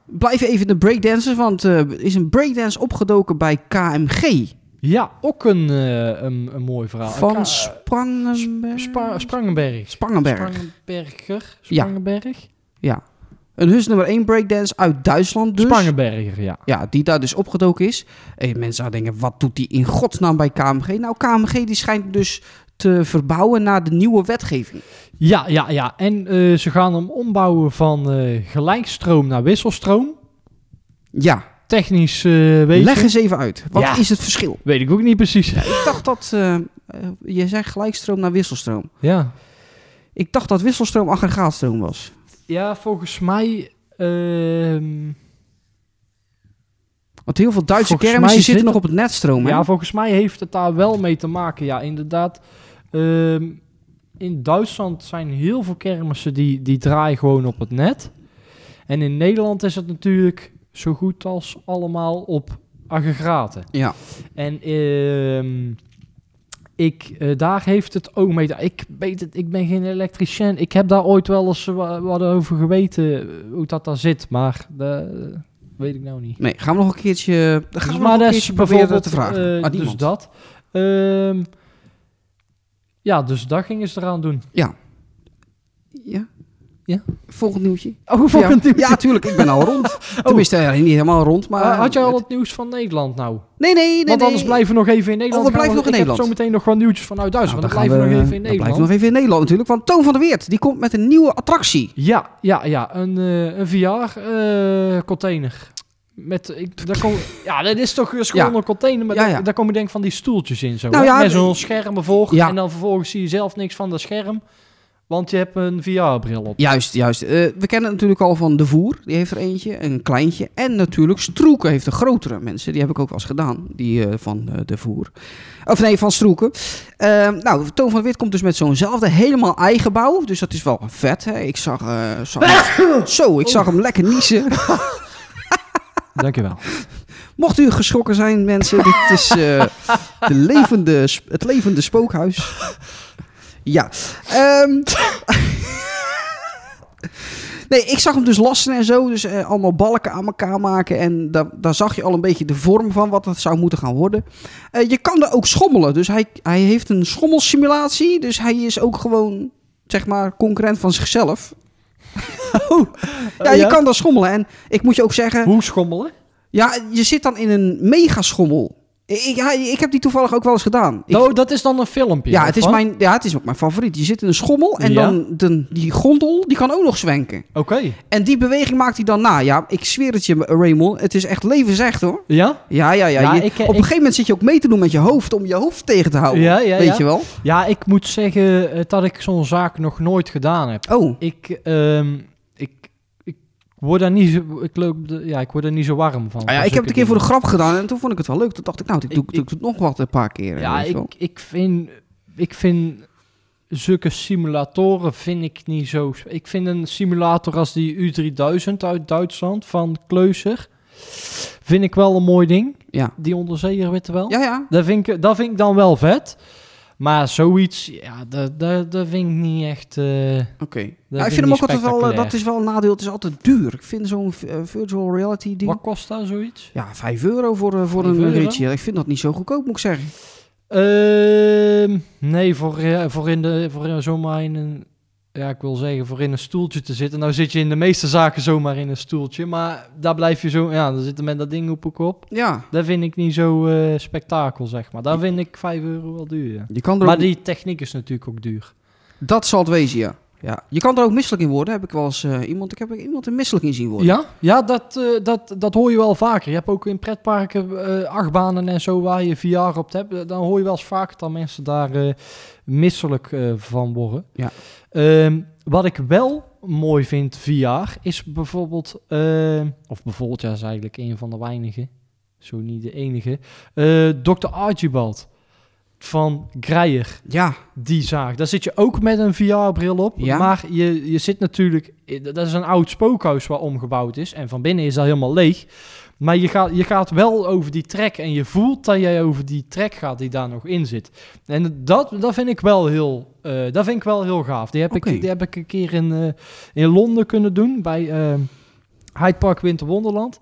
E: Blijf even in de breakdancers, want eh, er is een breakdance opgedoken bij KMG.
D: Ja, ook een, eh, een, een mooi verhaal. Een ka-
E: Van Sprangenberg.
D: Spa- Sprangenberg.
E: Sprangenberg.
D: Sprangenberger.
E: Ja.
D: Sprangenberg.
E: Een hus nummer 1 breakdance uit Duitsland dus.
D: Sprangenberger, ja.
E: Ja, die daar dus opgedoken is. En mensen zouden denken, wat doet die in godsnaam bij KMG? Nou, KMG die schijnt dus te verbouwen naar de nieuwe wetgeving.
D: Ja, ja, ja. En eh, ze gaan hem ombouwen van eh, gelijkstroom naar wisselstroom.
E: Ja,
D: Technisch eh weet,
E: leg
D: ik,
E: eens even uit. Wat
D: Ja.
E: is het verschil?
D: weet ik ook niet precies.
E: Ik dacht dat, eh, eh, je zei gelijkstroom naar wisselstroom.
D: Ja,
E: Ik dacht dat wisselstroom aggregaatstroom was.
D: ja volgens mij... ehm,
E: Want heel veel Duitse
D: Volgens
E: kermis
D: mij
E: die zitten
D: zit er-
E: nog op het netstroom. hè?
D: Ja, volgens mij heeft het daar wel mee te maken. Ja, inderdaad. Ehm, in Duitsland zijn heel veel kermissen die, die draaien gewoon op het net. En in Nederland is het natuurlijk zo goed als allemaal op aggregaten.
E: ja.
D: En ehm, ik, eh, daar heeft het ook mee. te- Ik, weet het, ik ben geen elektricien. Ik heb daar ooit wel eens wa- wat over geweten eh, hoe dat daar zit. Maar de, Weet ik nou niet.
E: Nee, gaan we nog een keertje, gaan we
D: Dus,
E: nog
D: maar
E: een
D: dat is
E: keertje proberen
D: bijvoorbeeld
E: te vragen.
D: eh,
E: aan
D: dus
E: iemand.
D: dat. Ehm, ja, dus dat gingen ze eraan doen.
E: Ja?
D: Ja?
E: Volgend nieuwtje.
D: Oh,
E: ja. Ja, tuurlijk. Ik ben al rond. Tenminste, ja, niet helemaal rond, maar...
D: Ah,
E: eh,
D: had jij al het nieuws van Nederland nou?
E: Nee, nee, nee.
D: want anders
E: nee.
D: blijven we nog even in Nederland.
E: Oh, we
D: gaan,
E: blijven
D: want
E: nog in
D: ik
E: Nederland.
D: heb zo meteen nog gewoon nieuwtjes vanuit
E: Nou,
D: Duitsland.
E: dan
D: maar dan blijven we
E: gaan
D: nog
E: we-
D: even in
E: dan blijven
D: Nederland.
E: we nog even in Nederland natuurlijk. Want Toon van der Weert, die komt met een nieuwe attractie.
D: Ja, ja, ja. Een, eh, een VR-container. Met, ik, daar kom, ja, dat is toch dus gewoon
E: Ja.
D: een container, maar
E: Ja,
D: daar-
E: ja.
D: daar komen denk ik van die stoeltjes in zo.
E: Nou
D: hè?
E: ja,
D: Met zo'n scherm ervoor
E: Ja.
D: en dan vervolgens zie je zelf niks van dat scherm, want je hebt een VR-bril op.
E: Juist, juist. Eh, we kennen het natuurlijk al van De Voer. Die heeft er eentje, een kleintje. En natuurlijk Stroeken heeft een grotere mensen. Die heb ik ook wel eens gedaan, die eh, van eh, De Voer. Of nee, van Stroeken. Eh, nou, Toon van der Wit komt dus met zo'nzelfde helemaal eigen bouw. Dus dat is wel vet. Hè? Ik zag, eh, zag Zo, ik zag hem lekker niezen.
D: Dankjewel.
E: Mocht u geschrokken zijn, mensen, dit is eh, de levende, sp- het levende spookhuis. Ja. ehm. nee, ik zag hem dus lassen en zo. Dus eh, allemaal balken aan elkaar maken. En daar, daar zag je al een beetje de vorm van wat dat zou moeten gaan worden. Eh, je kan er ook schommelen. Dus hij, hij heeft een schommelsimulatie. Dus hij is ook gewoon, zeg maar, concurrent van zichzelf. Oh, ja, je
D: ja?
E: kan daar schommelen. En ik moet je ook zeggen...
D: Hoe schommelen?
E: Ja, je zit dan in een megaschommel. Ik, ik, ja, ik heb die toevallig ook wel eens gedaan. Ik-
D: Nou, dat is dan een filmpje.
E: ja, het is
D: of wat?
E: mijn, ja, het is ook mijn favoriet. Je zit in een schommel en
D: Ja.
E: dan dan die gondel, die kan ook nog zwenken.
D: Oké.
E: En die beweging maakt hij dan na. Ja, ik zweer het je, Raymond. Het is echt levensecht hoor.
D: Ja?
E: Ja, ja, ja.
D: Ja,
E: je-
D: ik, eh,
E: op een
D: ik-
E: gegeven moment zit je ook mee te doen met je hoofd om je hoofd tegen te houden.
D: Ja, ja,
E: Oh, weet
D: ja.
E: je wel?
D: Ja, ik moet zeggen eh, dat ik zo'n zaak nog nooit gedaan heb.
E: Oh,
D: Ik, ehm, ik, ik word daar niet zo, ik loop, de- ja, ik word daar niet zo warm van.
E: Ah ja,
D: van
E: ik heb het
D: zulke
E: een keer voor de
D: dingen.
E: grap gedaan en toen vond ik het wel leuk. Toen dacht ik, nou, dit doe ik,
D: Ik-
E: doe ik nog wat een paar keer.
D: Ja,
E: weet je wel.
D: ik, ik vind, ik vind zulke simulatoren vind ik niet zo. Ik vind een simulator als die U3000 uit Duitsland van Kleuser, vind ik wel een mooi ding.
E: Ja.
D: Die onderzeeër, weet je wel.
E: Ja, ja.
D: Dat vind, ik, dat vind ik dan wel vet. Maar zoiets, ja, dat, dat, dat vind ik niet echt... eh, Dat
E: Oké. Ja, ik
D: vind ik
E: vind hem
D: niet
E: ook altijd wel, eh,
D: spectaculair.
E: dat is wel een nadeel, het is altijd duur. Ik vind zo'n eh, virtual reality ding,
D: wat kost dat zoiets?
E: ja, 5 euro voor, eh, voor
D: Vijf
E: een
D: euro?
E: ritje. Ik vind dat niet zo goedkoop, moet ik zeggen.
D: Ehm, nee, voor, eh, voor, in de, voor in- zomaar in een... Ja, ik wil zeggen, voor in een stoeltje te zitten. Nou zit je in de meeste zaken zomaar in een stoeltje. Maar daar blijf je zo... Ja, dan zit er met dat ding op ik op.
E: Ja,
D: Dat vind ik niet zo eh, spektakel, zeg maar. Daar vind ik 5 euro wel duur, ja.
E: je kan er
D: Maar
E: ook-
D: die techniek is natuurlijk ook duur.
E: dat zal het wezen, ja. ja. Je kan er ook misselijk in worden, heb ik wel eens eh, iemand, ik heb iemand er misselijk in zien worden.
D: Ja, ja dat, eh, dat, dat hoor je wel vaker. Je hebt ook in pretparken eh, achtbanen en zo waar je VR op hebt. Eh, Dan hoor je wel eens vaker dat mensen daar eh, misselijk eh, van worden.
E: Ja.
D: Ehm, wat ik wel mooi vind VR is bijvoorbeeld... ehm, of bijvoorbeeld, ja, is eigenlijk een van de weinigen. Zo niet de enige. Eh Dr. Archibald van Greyer
E: Ja,
D: die zaag. Daar zit je ook met een VR-bril op.
E: Ja.
D: Maar je, je zit natuurlijk... eh, Dat is een oud spookhuis waar omgebouwd is. En van binnen is dat helemaal leeg. Maar je gaat, je gaat wel over die trek. En je voelt dat jij over die trek gaat die daar nog in zit. En dat, dat vind ik wel heel... eh, dat vind ik wel heel gaaf. Die heb,
E: Oké.
D: ik, die heb ik een keer in, eh, in Londen kunnen doen. Bij ehm, Hyde Park Winter Wonderland.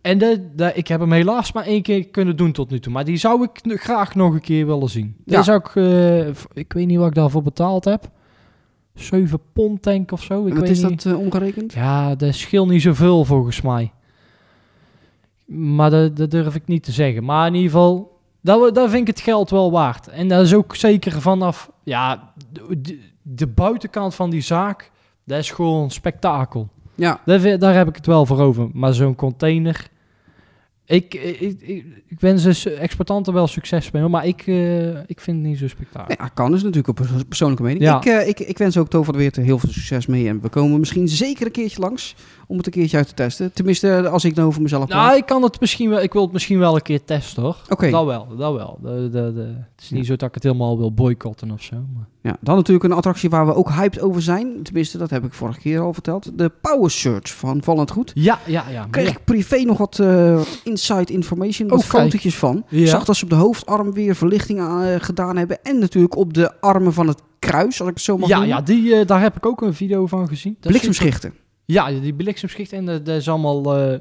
D: En de, de- ik heb hem helaas maar één keer kunnen doen tot nu toe. Maar die zou ik nu graag nog een keer willen zien. Die
E: Ja.
D: zou ik, eh, v- ik weet niet wat ik daarvoor betaald heb. 7 pond tank of zo. Ik
E: en wat
D: weet
E: is
D: niet.
E: dat eh, omgerekend?
D: Ja, dat scheelt niet zoveel volgens mij. Maar dat, dat durf ik niet te zeggen. Maar in ieder geval, dat, we- dat vind ik het geld wel waard. En dat is ook zeker vanaf, ja, de, de- de buitenkant van die zaak, dat is gewoon een spektakel.
E: Ja,
D: Daar, vind- daar heb ik het wel voor over. Maar zo'n container. Ik, ik, ik, ik wens dus exploitanten wel succes mee, hoor, maar ik, eh, ik vind het niet zo spectaculair.
E: nee, ja, kan is natuurlijk een pers- persoonlijke mening.
D: Ja.
E: Ik, eh, ik, ik wens ook Toon van der Weert er heel veel succes mee. En we komen misschien zeker een keertje langs om het een keertje uit te testen. Tenminste, eh, als ik dan over mezelf praat.
D: Nou, ik kan het misschien wel, ik wil het misschien wel een keer testen hoor.
E: Oké.
D: Dat wel, dat wel. De, de, de, het is niet
E: Ja.
D: zo dat ik het helemaal wil boycotten of zo. Maar.
E: Ja, dan natuurlijk een attractie waar we ook hyped over zijn. Tenminste, dat heb ik vorige keer al verteld. De Power Search van Vallend Goed.
D: Ja, ja, ja.
E: Kreeg
D: ja.
E: ik privé nog wat eh, wat inside information, wat
D: Oh, kijk.
E: fotootjes van.
D: Ja.
E: Zag dat ze op de hoofdarm weer verlichting aan, eh, gedaan hebben. En natuurlijk op de armen van het kruis, als ik het zo mag
D: Ja,
E: noemen.
D: ja die, eh, daar heb ik ook een video van gezien. Dat is-
E: Bliksemschichten.
D: Ja, die bliksemschicht en dat, dat is allemaal eh,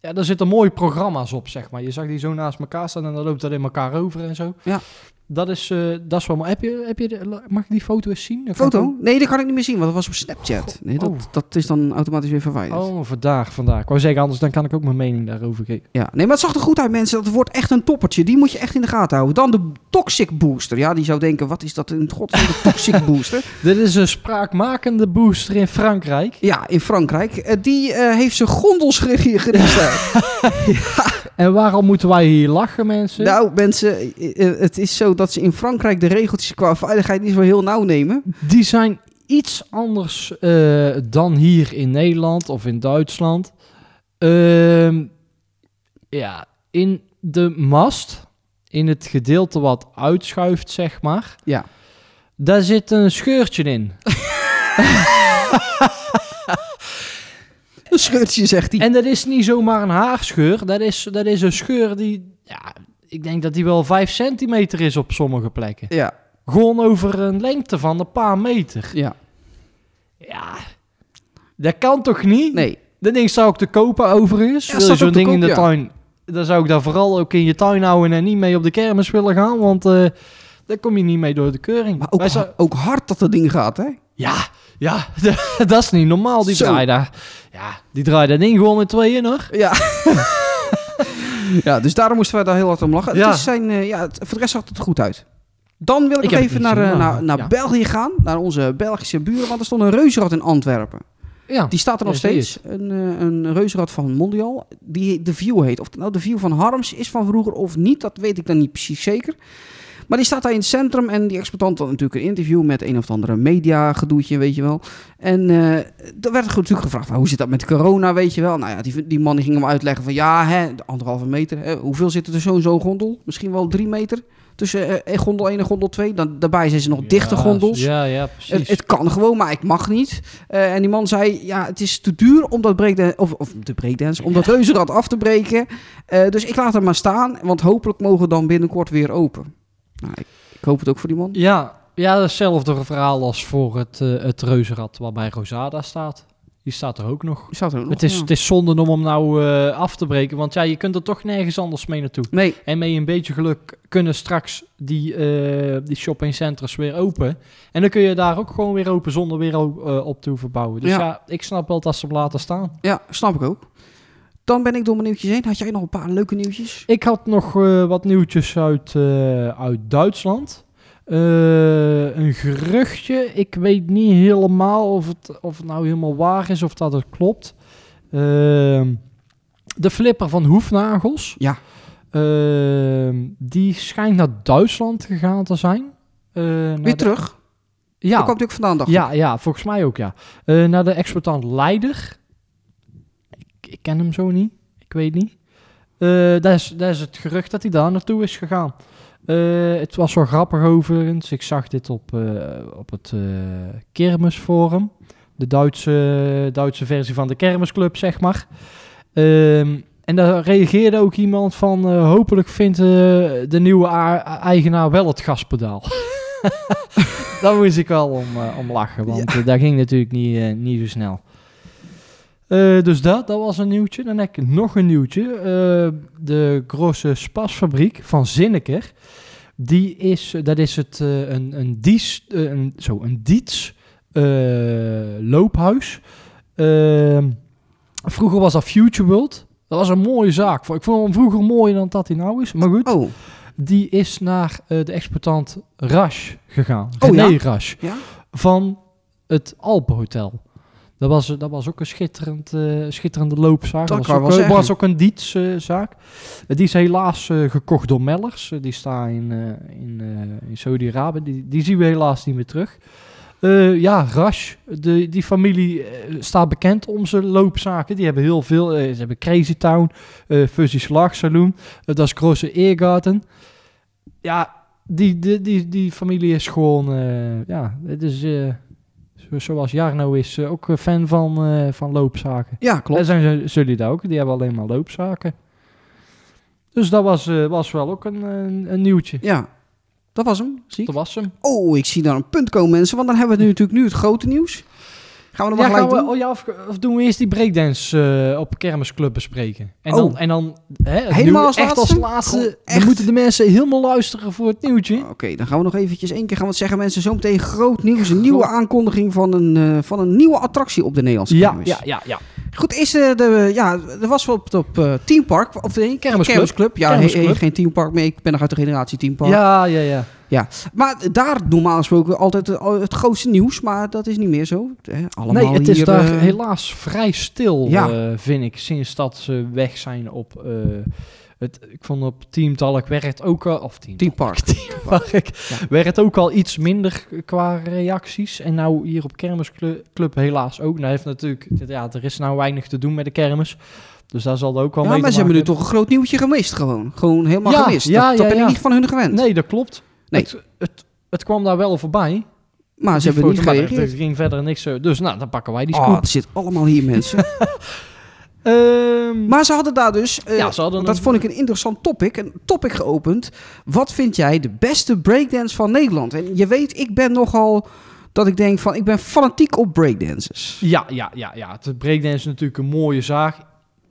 D: Ja, daar zitten mooie programma's op, zeg maar. Je zag die zo naast elkaar staan en dan loopt dat in elkaar over en zo.
E: Ja.
D: Dat is, eh, dat is wel mooi. Heb je, heb je de- mag ik die foto eens zien? Dan kan ik
E: Foto? Nee, dat kan ik niet meer zien, want dat was op Snapchat. Nee,
D: Oh.
E: dat, dat is dan automatisch weer
D: ook-
E: verwijderd.
D: Oh, vandaag, vandaag. Ik wou zeggen, anders dan kan ik ook mijn mening daarover geven.
E: Ja, nee, maar het zag er goed uit, mensen. Dat wordt echt een toppertje. Die moet je echt in de gaten houden. Dan de Toxic Booster. Ja, die zou denken, wat is dat in het godsnaam, de Toxic Booster?
D: Dit is een spraakmakende booster in Frankrijk.
E: Ja, in Frankrijk. Eh, die eh, heeft zijn gondels gere- gerestaureerd.
D: En waarom moeten wij hier lachen, mensen?
E: nou, mensen, eh, eh, het is zo dat ze in Frankrijk de regeltjes qua veiligheid niet zo heel nauw nemen.
D: Die zijn iets anders eh, dan hier in Nederland of in Duitsland. Ehm, ja, in de mast, in het gedeelte wat uitschuift, zeg maar,
E: Ja.
D: daar zit een scheurtje in.
E: Een scheurtje, zegt hij.
D: En dat is niet zomaar een haarscheur, dat is, dat is een scheur die, ja, ik denk dat die wel 5 centimeter is op sommige plekken.
E: Ja,
D: Gewoon over een lengte van een paar meter.
E: ja.
D: Ja, dat kan toch niet?
E: Nee.
D: Dat ding zou ik te kopen overigens.
E: Ja,
D: Wil je
E: staat
D: zo'n
E: ook te
D: ding in de
E: koop, ja.
D: tuin. Dan zou ik daar vooral ook in je tuin houden en niet mee op de kermis willen gaan. Want eh, daar kom je niet mee door de keuring.
E: Maar ook,
D: Wij zou-
E: ha- ook hard dat dat ding gaat, hè?
D: Ja, ja, dat is niet normaal. Die
E: Zo.
D: draai daar. Ja, die draai dat ding gewoon met tweeën hoor.
E: Ja. ja, dus daarom moesten wij daar heel hard om lachen.
D: Ja.
E: Het is zijn, eh, ja, het, voor de rest zag het er goed uit. Dan wil
D: Ik
E: ik, nog
D: heb het
E: even
D: niet
E: naar,
D: gezien,
E: eh,
D: maar-
E: naar, naar
D: ja.
E: België gaan. Naar onze Belgische buren. Want er stond een reuzenrad in Antwerpen.
D: Ja,
E: Die staat er nog
D: Ja, zie je
E: steeds. Een, eh, een reuzenrad van Mondial. Die de View heet. Of het nou de View van Harms is van vroeger of niet. Dat weet ik dan niet precies zeker. Maar die staat daar in het centrum. En die exploitant had natuurlijk een interview met een of andere media gedoetje, weet je wel. En eh er werd natuurlijk gevraagd, nou, hoe zit dat met corona, weet je wel. Nou ja, die, die man die ging hem uitleggen van, ja, hè, de anderhalve meter. Hè, hoeveel zit er tussen zo'n zo'n gondel? Misschien wel drie meter tussen eh, gondel 1 en gondel 2. Dan, daarbij zijn ze nog dichte gondels.
D: Ja, ja,
E: Het,
D: precies.
E: het kan gewoon, maar ik mag niet. Eh, en die man zei, ja, het is te duur om dat breakdance, of, of de breakdance, om dat reuzenrad af te breken. Eh, dus ik laat hem maar staan, want hopelijk mogen we dan binnenkort weer open. Nou, ik, ik hoop het ook voor die man.
D: Ja, ja, hetzelfde verhaal als voor het, eh, het reuzenrad waarbij Rosada staat. Die staat er ook nog.
E: Staat er ook nog,
D: Het is,
E: ja.
D: het is zonde om hem nou eh, af te breken, want ja, je kunt er toch nergens anders mee naartoe.
E: Nee,
D: En met een beetje geluk kunnen straks die, eh die shoppingcentra's weer open. En dan kun je daar ook gewoon weer open zonder weer o- eh, op te hoeven bouwen. Dus
E: Ja.
D: ja. ik snap wel dat ze hem laten staan.
E: ja, snap ik ook. Dan ben ik door mijn nieuwtjes heen. Had jij nog een paar leuke nieuwtjes?
D: Ik had nog eh, wat nieuwtjes uit, eh, uit Duitsland. Eh, een geruchtje. Ik weet niet helemaal of het, of het nou helemaal waar is of dat het klopt. Ehm, de flipper van Hoefnagels.
E: Ja.
D: Ehm, die schijnt naar Duitsland gegaan te zijn. Eh, naar
E: Weer
D: de-
E: terug? Daar
D: Ja,
E: kwam natuurlijk vandaan, dacht ik.
D: ja, ja, volgens mij ook, ja. Eh, naar de exploitant Leider. Ik, ik ken hem zo niet. Ik weet niet. Eh dat, is, dat is het gerucht dat hij daar naartoe is gegaan. Eh, het was wel grappig overigens. Ik zag dit op, eh, op het eh Kermisforum. De Duitse, Duitse versie van de Kermisclub, zeg maar. Ehm, en daar reageerde ook iemand van... eh, hopelijk vindt eh, de nieuwe a- eigenaar wel het gaspedaal. daar moest ik wel om, eh, om lachen, want eh, daar ging natuurlijk niet, eh, niet zo snel. Eh, dus dat, dat was een nieuwtje. Dan heb ik nog een nieuwtje. Eh, de grote spasfabriek van Zinneker. Die is, dat is het, eh, een, een, dies, eh, een, zo, een diets eh, loophuis. Ehm, vroeger was dat Future World. Dat was een mooie zaak. Ik vond hem vroeger mooier dan dat hij nou is. Maar goed,
E: Oh,
D: die is naar eh, de exploitant Rush gegaan.
E: Oh,
D: René
E: ja?
D: Rush
E: ja?
D: van het Alpenhotel. Dat was, dat was ook een schitterend, eh, schitterende loopzaak.
E: Dat
D: was
E: kan
D: ook,
E: wel
D: eh,
E: zeggen.
D: was ook een dietszaak. die is helaas eh, gekocht door Mellers. Eh, die staan in, eh, in, eh, in Saudi-Arabië. Die, die zien we helaas niet meer terug. Eh, ja, Rush. De, die familie eh, staat bekend om zijn loopzaken. Die hebben heel veel. eh, ze hebben Crazy Town, eh Fuzzy Slag Saloon. eh, dat is Grosse Eergarten. Ja, die, die, die, die familie is gewoon... eh, ja, het is... eh, zo- zoals Jarno is eh, ook een fan van, eh, van loopzaken.
E: ja, klopt.
D: Daar zijn ze- jullie daar ook. Die hebben alleen maar loopzaken. Dus dat was, eh, was wel ook een, een, een nieuwtje.
E: Ja, dat was hem. Zie ik.
D: Dat was hem.
E: Oh, ik zie daar een punt komen, mensen. Want dan hebben we nu natuurlijk nu het grote nieuws. Gaan we dat
D: Ja,
E: maar
D: gaan
E: gelijk
D: we, oh
E: doen?
D: ja, of, of doen we eerst die breakdance eh, op Kermisclub bespreken? En
E: Oh.
D: dan, en dan hè, het
E: Helemaal
D: nieuwe-
E: als
D: echt als
E: laatste? Gewoon
D: laatste. Dan
E: echt?
D: moeten de mensen helemaal luisteren voor het nieuwtje.
E: Oké, dan gaan we nog eventjes één keer gaan we het zeggen. Mensen, zometeen groot nieuws. Een nieuwe aankondiging van een, eh, van een nieuwe attractie op de Nederlandse
D: Ja,
E: kermis.
D: ja, ja, ja.
E: Goed, is eh, de, ja, er was wel op, op eh, Team Park. Of nee,
D: Kermisclub.
E: Ja,
D: Kermisclub.
E: he- he- geen Team Park meer. Ik ben nog uit de generatie Team Park.
D: Ja, ja, ja.
E: Maar daar normaal gesproken altijd het, het grootste nieuws. Maar dat is niet meer zo. Eh, allemaal
D: nee, het is
E: hier,
D: daar
E: eh,
D: helaas vrij stil,
E: Ja.
D: eh, vind ik, sinds dat ze weg zijn op... eh, het, ik vond op Team Talk werkt ook al... Of Team,
E: Team Park.
D: Talk, Werkt ook al iets minder qua reacties. En nou hier op Kermisclub Club helaas ook. Nou heeft natuurlijk... Ja, er is nou weinig te doen met de kermis. Dus daar zal er ook wel
E: Ja,
D: mee
E: maar
D: te
E: ze hebben nu
D: maken
E: toch een groot nieuwtje gemist gewoon. Gewoon helemaal
D: Ja,
E: gemist.
D: ja,
E: dat dat
D: ja,
E: ben
D: ja.
E: ik niet van hun gewend.
D: Nee, dat klopt.
E: Nee.
D: Het, het, het kwam daar wel voorbij.
E: maar ze
D: Die
E: hebben niet
D: foto, maar er-
E: gereageerd.
D: Er ging verder niks. eh, Dus nou, dan pakken wij die
E: Oh,
D: scoop.
E: het zit allemaal hier, mensen.
D: Ehm,
E: Maar ze hadden daar dus, eh,
D: Ja, ze hadden
E: dat
D: een-
E: vond ik een interessant topic, een topic geopend. Wat vind jij de beste breakdance van Nederland? En je weet, ik ben nogal dat ik denk van, ik ben fanatiek op breakdancers.
D: Ja, ja, ja, ja. Het breakdance is natuurlijk een mooie zaak.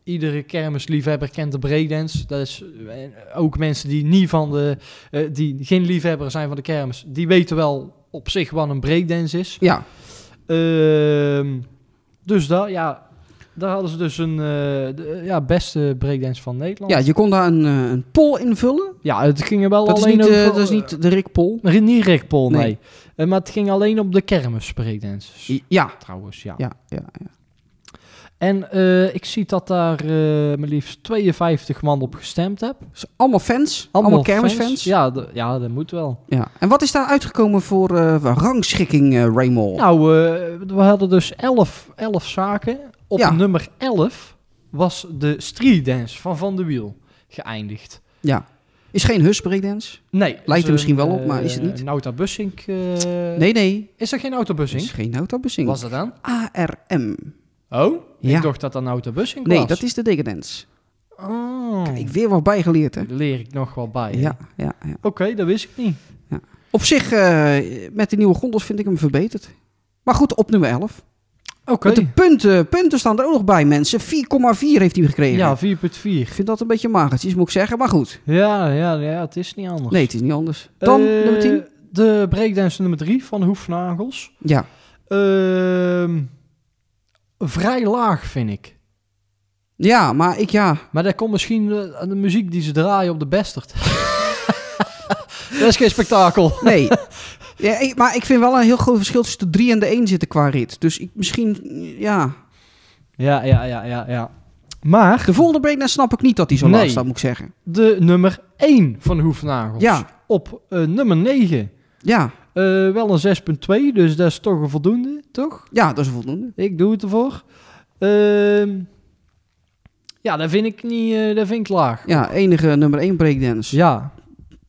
D: Iedere kermisliefhebber kent de breakdance. Dat is eh, ook mensen die niet van de, eh, die geen liefhebber zijn van de kermis, die weten wel op zich wat een breakdance is.
E: Ja,
D: Ehm, dus daar, ja, daar hadden ze dus een eh, de, eh, ja, beste breakdance van Nederland.
E: ja je kon daar een, eh, een poll invullen.
D: Ja, het ging er wel
E: Dat is,
D: alleen
E: niet, eh,
D: over-
E: dat is niet de Rick poll.
D: Maar niet Rick Paul, nee.
E: Nee.
D: Eh, maar het ging alleen op de kermis breakdances.
E: Ja,
D: Trouwens, ja.
E: ja, ja. ja.
D: En eh, ik zie dat daar eh maar liefst 52 man op gestemd heb.
E: Dus allemaal fans, allemaal, kermisfans. Ja.
D: Ja, d- ja, dat moet wel.
E: En wat is daar uitgekomen voor eh, rangschikking, eh Raymond?
D: Nou, eh, we hadden dus 11, 11 zaken. Op
E: Ja.
D: nummer 11 was de street dance van Van de Wiel geëindigd.
E: Ja. Is geen hus breakdance?
D: Nee.
E: er misschien wel op, maar is het niet?
D: Een Nauta Bussink. eh,
E: Nee, nee.
D: Is er geen
E: Het is
D: autobussing?
E: geen autobussing.
D: Was dat dan?
E: ARM.
D: Oh,
E: Ja.
D: ik dacht dat dat een autobussing was.
E: Nee, dat is de dekadens.
D: Oh.
E: Kijk, weer wat bijgeleerd, hè?
D: Daar leer ik nog wel bij. hè?
E: Ja, ja, ja.
D: Oké, dat wist ik niet.
E: Op zich, eh, met de nieuwe gondels vind ik hem verbeterd. Maar goed, op nummer 11.
D: Oké.
E: Met de punten, punten staan er ook nog bij, mensen. 4,4 heeft hij gekregen.
D: Ja,
E: Ik
D: 4.4.
E: vind dat een beetje magertjes, moet ik zeggen. Maar goed,
D: Ja, ja, ja, het is niet anders.
E: nee, het is niet anders. Dan
D: Eh,
E: nummer 10.
D: De breakdance nummer 3 van Hoefnagels.
E: Ja,
D: Ehm, vrij laag, vind ik.
E: ja maar ik, ja.
D: Maar dat komt misschien eh, aan de muziek die ze draaien op de bestert. dat is geen spektakel.
E: Nee. ja, ik- maar ik vind wel een heel groot verschil tussen de 3 en de 1 zitten qua rit. Dus ik, misschien, ja.
D: Ja, ja, ja, ja, ja. Maar
E: De volgende breakdance snap ik niet dat hij zo
D: Nee.
E: laag staat, moet ik zeggen.
D: de nummer 1 van Hoefnagels.
E: Ja,
D: Op eh, nummer 9.
E: ja,
D: Eh, wel een 6.2, dus dat is toch een voldoende, toch?
E: ja, dat is voldoende.
D: Ik doe het ervoor. Ehm, ja, dat vind ik niet, eh, dat vind ik laag. Dus
E: Ja, enige nummer 1 breakdance.
D: Ja,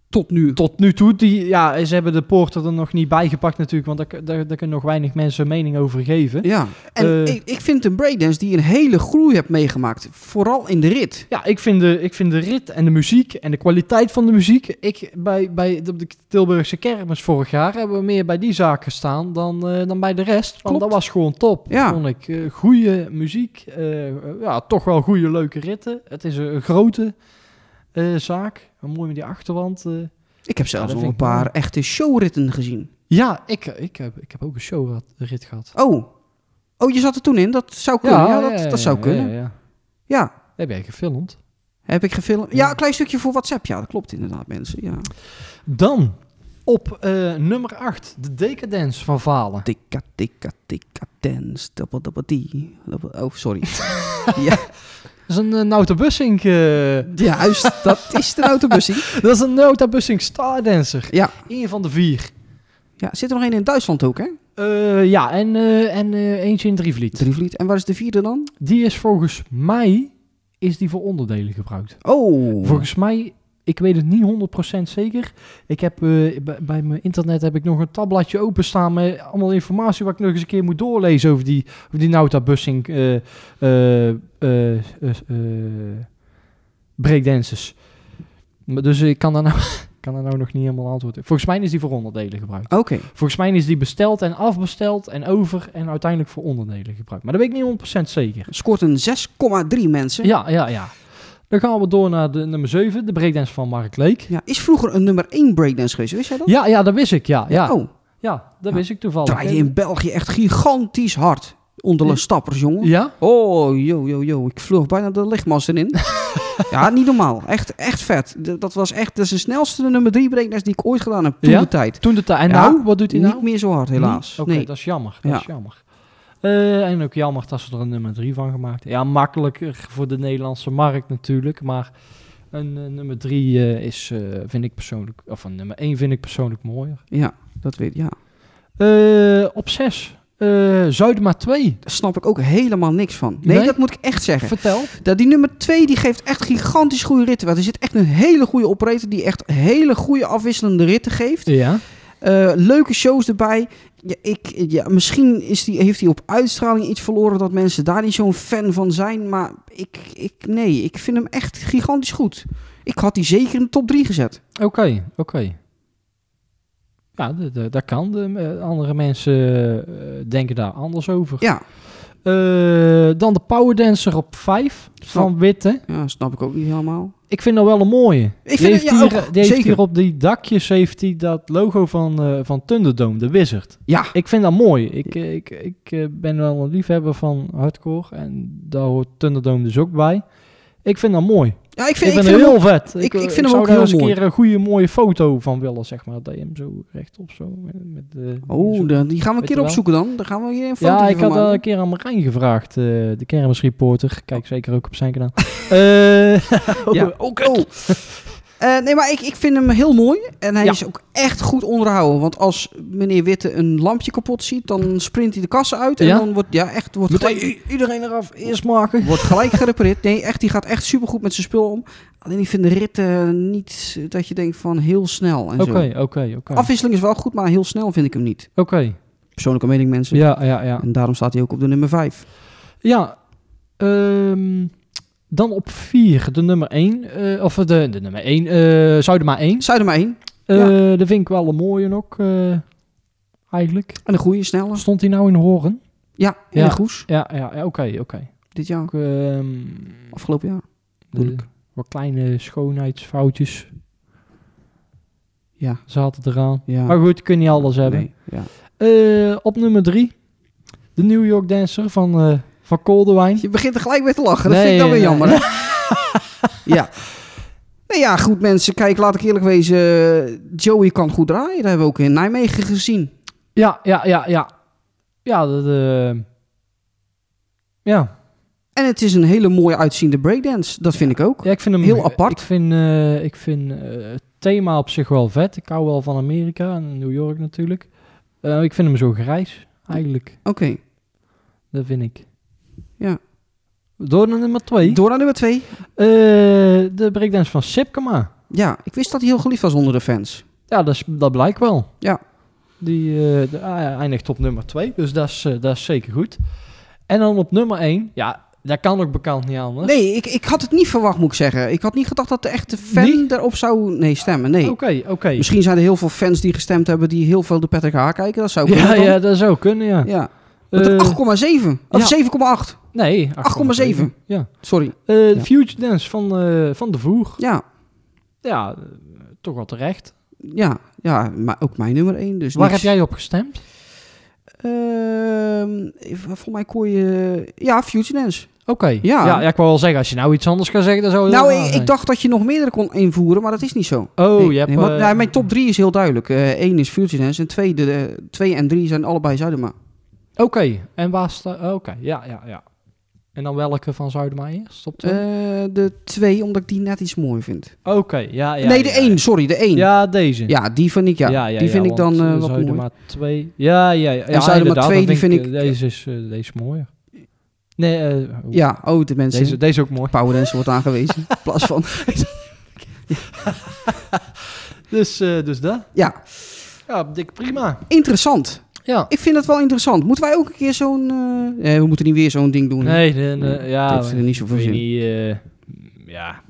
E: Tot nu.
D: tot nu toe, die, ja, ze hebben de poorter er nog niet bijgepakt natuurlijk, want daar, daar, daar kunnen nog weinig mensen een mening over geven.
E: Ja, en
D: Eh,
E: ik, ik vind een breakdance die een hele groei hebt meegemaakt. Vooral in de rit.
D: Ja, ik vind, de, ik vind de rit en de muziek en de kwaliteit van de muziek. Ik, bij, bij, op de Tilburgse kermis vorig jaar hebben we meer bij die zaak gestaan dan, eh, dan bij de rest. Want
E: Klopt.
D: dat was gewoon top,
E: Ja.
D: vond ik. Eh, goede muziek, eh, ja, toch wel goede leuke ritten. Het is een grote eh, zaak. Mooi met die achterwand. eh.
E: Ik heb zelfs
D: dat
E: nog
D: vind
E: een
D: ik mooi.
E: paar echte showritten gezien.
D: Ja, ik, ik, heb, ik heb ook een showrit gehad.
E: Oh. Oh, je zat er toen in? Dat zou kunnen. Ja, dat, dat zou
D: ja,
E: kunnen. Ja,
D: ja, ja. Heb jij gefilmd?
E: heb ik gefilmd. Ja,
D: Ja.
E: een klein stukje voor WhatsApp. Ja, dat klopt inderdaad, mensen. Ja.
D: Dan op eh, nummer 8, de Decadence van Valen.
E: Tikka, tikka, tikka, dance, double, double, die. double- Oh, sorry. ja,
D: Dat is een uh, Nauta Bussink. eh,
E: juist. Dat is de autobussie.
D: dat is een Nauta Bussink Stardancer.
E: Ja.
D: Eén van de vier.
E: Ja, zit er nog één in Duitsland ook, hè?
D: Eh, ja, en, eh, en eh, eentje in Drievliet.
E: Drievliet. En waar is de vierde dan?
D: Die is volgens mij is die voor onderdelen gebruikt.
E: Oh.
D: Volgens mij, ik weet het niet 100% zeker. Ik heb eh, bij, bij mijn internet heb ik nog een tabbladje openstaan met allemaal informatie wat ik nog eens een keer moet doorlezen over die, over die Nauta Bussing eh eh, eh, eh, eh, breakdances. Maar Dus ik kan daar nou kan er nou nog niet helemaal antwoord op. Volgens mij is die voor onderdelen gebruikt.
E: Oké.
D: Volgens mij is die besteld en afbesteld en over en uiteindelijk voor onderdelen gebruikt. Maar dat weet ik niet 100% zeker.
E: Scoort een 6,3 mensen.
D: Ja, ja, ja. Dan gaan we door naar de, nummer 7, de breakdance van Mark Leek.
E: Ja, is vroeger een nummer 1 breakdance geweest, wist jij dat?
D: Ja, ja, dat wist ik, ja. Ja,
E: Oh,
D: ja dat
E: Ja.
D: wist ik toevallig.
E: draaide in België echt gigantisch hard. Onder de stappers, jongen.
D: Ja?
E: Oh, yo, yo, yo. Ik vloog bijna de lichtmasten in. ja, niet normaal. Echt, echt vet. D- Dat was echt dat is de snelste nummer 3 breakdance die ik ooit gedaan heb. Toen
D: Ja?
E: de tijd.
D: Toen de ta- En
E: Ja,
D: nou, wat doet hij nou?
E: Niet meer zo hard, helaas.
D: Niet? Oké,
E: nee.
D: dat is jammer. Dat
E: Ja.
D: is jammer. Eh, en ook jammer dat ze er een nummer 3 van gemaakt hebben. Ja, makkelijker voor de Nederlandse markt natuurlijk. Maar een eh, nummer 3 is, eh, vind ik persoonlijk... Of een nummer 1 vind ik persoonlijk mooier.
E: Ja, dat weet Ja.
D: Eh, op 6. eh Zuidma 2.
E: Daar snap ik ook helemaal niks van. Nee,
D: Nee?
E: dat moet ik echt zeggen.
D: Vertel.
E: Dat die nummer 2 die geeft echt gigantisch goede ritten. Want er zit echt een hele goede operator die echt hele goede afwisselende ritten geeft.
D: Ja.
E: Eh, leuke shows erbij. Ja, ik, ja, misschien is die, heeft hij op uitstraling iets verloren dat mensen daar niet zo'n fan van zijn. Maar ik, ik, nee, ik vind hem echt gigantisch goed. Ik had die zeker in de top 3 gezet.
D: Oké, oké. Ja, d- d- dat kan. De, eh, andere mensen eh, denken daar anders over.
E: Ja,
D: Eh, dan de Powerdancer op 5 van Witte.
E: ja snap ik ook niet helemaal.
D: Ik vind dat wel een mooie. die
E: vind het-
D: heeft,
E: ja,
D: hier,
E: ook,
D: die heeft
E: zeker.
D: hier op die dakjes heeft hij dat logo van, eh, van Thunderdome, de Wizard.
E: Ja,
D: Ik vind dat mooi. Ik, eh, ik, ik eh, ben wel een liefhebber van hardcore en daar hoort Thunderdome dus ook bij. Ik vind dat mooi.
E: ja ik
D: Ik,
E: vind,
D: vind
E: ik vind
D: hem
E: hem
D: heel vet. eh,
E: ik vind hem
D: zou
E: ook
D: daar
E: heel
D: eens een
E: mooi.
D: keer een goede mooie foto van willen, zeg maar. Dat je hem zo rechtop zo... Met, met, eh, zo-
E: Oh, dan- die gaan we een
D: Weet
E: keer
D: je wel.
E: opzoeken dan. Dan gaan we hier een foto
D: Ja, ik
E: van
D: had al
E: maken.
D: een keer aan Marijn gevraagd, eh, de kermisreporter. Kijk zeker ook op zijn kanaal. Eh,
E: Ja. Oh, Eh, nee, maar ik, ik vind hem heel mooi. En hij
D: Ja.
E: is ook echt goed onderhouden. Want als meneer Witte een lampje kapot ziet, dan sprint hij de kassen uit. En
D: Ja?
E: dan wordt, ja, echt, wordt,
D: Meteen
E: gelijk,
D: i- iedereen eraf, eerst maken.
E: wordt gelijk gerepareerd. Nee, echt, die gaat echt supergoed met zijn spul om. Alleen ik vind de ritten niet eh, dat je denkt van heel snel en zo.
D: Oké, Oh. oké, oké.
E: Afwisseling is wel goed, maar heel snel vind ik hem niet.
D: Oké,
E: Persoonlijke mening mensen.
D: ja, ja, ja.
E: En daarom staat hij ook op de nummer 5.
D: Ja, ehm, dan op 4, de nummer 1. of de, de nummer 1, eh Zuidema 1.
E: Zuid er maar één.
D: Eh
E: Ja.
D: Dat vind ik wel een mooie nog, eh, eigenlijk.
E: En een goede, snelle.
D: Stond hij nou in Horen?
E: Ja, en
D: Ja.
E: een goes.
D: Ja, ja, ja, oké, oké.
E: Dit jaar,
D: Ook, ehm,
E: afgelopen jaar.
D: de- Wat kleine schoonheidsfoutjes
E: Ja.
D: zaten eraan.
E: Ja.
D: Maar goed, kun je niet alles hebben.
E: Nee, ja.
D: Eh, op nummer 3, de New York Dancer van, eh van Koldewijn.
E: Je begint er gelijk weer te lachen. Dat
D: Nee,
E: vind ik dan weer
D: nee.
E: jammer. hè? ja. Nou ja, goed mensen. Kijk, laat ik eerlijk wezen. eh, Joey kan goed draaien. Dat hebben we ook in Nijmegen gezien.
D: Ja, ja, ja, ja. Ja, dat... eh, ja.
E: En het is een hele mooi uitziende breakdance. Dat vind ik ook.
D: ja, ik vind hem...
E: Heel apart.
D: Ik vind, eh, ik vind eh, het thema op zich wel vet. Ik hou wel van Amerika en New York natuurlijk. Eh, ik vind hem zo grijs, eigenlijk.
E: Oké.
D: Dat vind ik.
E: Ja.
D: Door naar nummer 2.
E: Door naar nummer twee.
D: Eh, de breakdance van Sipkema.
E: Ja, ik wist dat hij heel geliefd was onder de fans.
D: Ja, dat, is, dat blijkt wel.
E: Ja.
D: Die eh, de- ah, ja, eindigt op nummer 2, dus dat is, eh, dat is zeker goed. En dan op nummer 1, ja, dat kan ook bekend niet anders.
E: Nee, ik, ik had het niet verwacht, moet ik zeggen. Ik had niet gedacht dat de echte fan
D: Niet?
E: daarop zou nee, stemmen. Nee.
D: Oké, oké.
E: Misschien zijn er heel veel fans die gestemd hebben die heel veel de Patrick Haar kijken. Dat zou kunnen.
D: Ja,
E: dan.
D: ja, dat zou kunnen, ja.
E: ja. Want
D: Eh,
E: 8,7. Of
D: ja.
E: 7,8.
D: nee,
E: 8,7.
D: Ja.
E: Sorry.
D: Eh,
E: Ja.
D: Future Dance van, eh, van De Voer.
E: Ja,
D: Ja, eh, toch wel terecht.
E: Ja, ja, maar ook mijn nummer 1. Dus
D: Waar heb
E: niks.
D: jij op gestemd?
E: Ehm, eh, volgens mij kon je... Ja, Future Dance.
D: Oké.
E: Ja.
D: Ja. Ja, ik wou wel zeggen, als je nou iets anders gaat zeggen, dan zou het
E: nou,
D: wel
E: ik,
D: zijn.
E: ik dacht dat je nog meerdere kon invoeren, maar dat is niet zo.
D: Oh,
E: Nee,
D: je hebt...
E: nee, want,
D: eh,
E: nou, mijn top 3 is heel duidelijk. 1 is Future Dance en 2 de, de- twee en 3 zijn allebei Zuidema.
D: Oké, en waar staat... Oké, ja, ja, ja. En dan welke van Zuidema eerst? Op twee?
E: Eh, de 2, omdat ik die net iets mooi vind.
D: Oké, ja, ja.
E: nee, de
D: ja,
E: 1, sorry, de 1. Ja,
D: Ja, deze.
E: die vind ik, ja. die vind ik dan
D: want,
E: eh,
D: eh,
E: wat
D: Zuidema
E: mooi.
D: 2. Ja, ja, ja. ja,
E: Zuidema
D: inderdaad,
E: 2,
D: dan
E: die vind
D: eh,
E: ik-
D: Deze is, eh, deze is mooier. Nee, eh, oh,
E: Ja, oh, de mensen.
D: deze, deze is ook mooi.
E: Power Dance wordt aangewezen. in plaats van...
D: Dus, eh, dus dat.
E: Ja,
D: Ja, dik prima.
E: interessant.
D: Ja.
E: Ik vind dat wel interessant. Moeten wij ook een keer zo'n... eh, Nee, we moeten niet weer zo'n ding doen.
D: Nee, de, de-
E: Nee,
D: ja.
E: dat heeft er niet zoveel
D: ik weet
E: zin.
D: niet, eh, ja.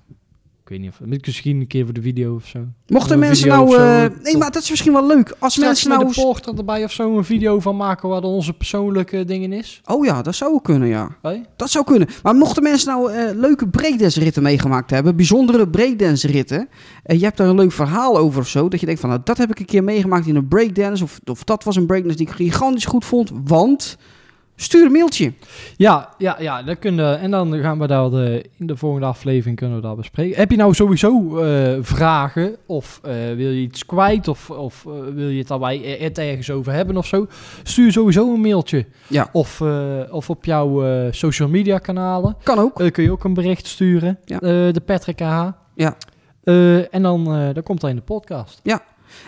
D: Ik weet niet of... Misschien een keer voor de video of zo.
E: Mochten
D: Een
E: mensen
D: video
E: nou...
D: of zo,
E: eh,
D: eh,
E: nee, maar dat is misschien wel leuk. Als
D: Straks
E: mensen
D: met
E: nou...
D: een porter erbij of zo een video van maken waar dan onze persoonlijke dingen is.
E: Oh ja, dat zou wel kunnen, ja.
D: Hey?
E: Dat zou kunnen. Maar mochten mensen nou eh, leuke breakdance-ritten meegemaakt hebben, bijzondere breakdance-ritten, en je hebt daar een leuk verhaal over of zo, dat je denkt van, nou, dat heb ik een keer meegemaakt in een breakdance, of, of dat was een breakdance die ik gigantisch goed vond, want... Stuur een mailtje.
D: Ja, ja, ja. Dat kunnen, en dan gaan we daar de, in de volgende aflevering kunnen we daar bespreken. Heb je nou sowieso eh, vragen of eh, wil je iets kwijt of, of eh, wil je het daarbij eh, het ergens over hebben of zo? Stuur sowieso een mailtje.
E: Ja.
D: Of, eh, of op jouw eh, social media kanalen.
E: Kan ook.
D: Eh, kun je ook een bericht sturen.
E: Ja.
D: Eh, de Patrick AH.
E: Ja.
D: Eh, en dan eh dat komt dat in de podcast.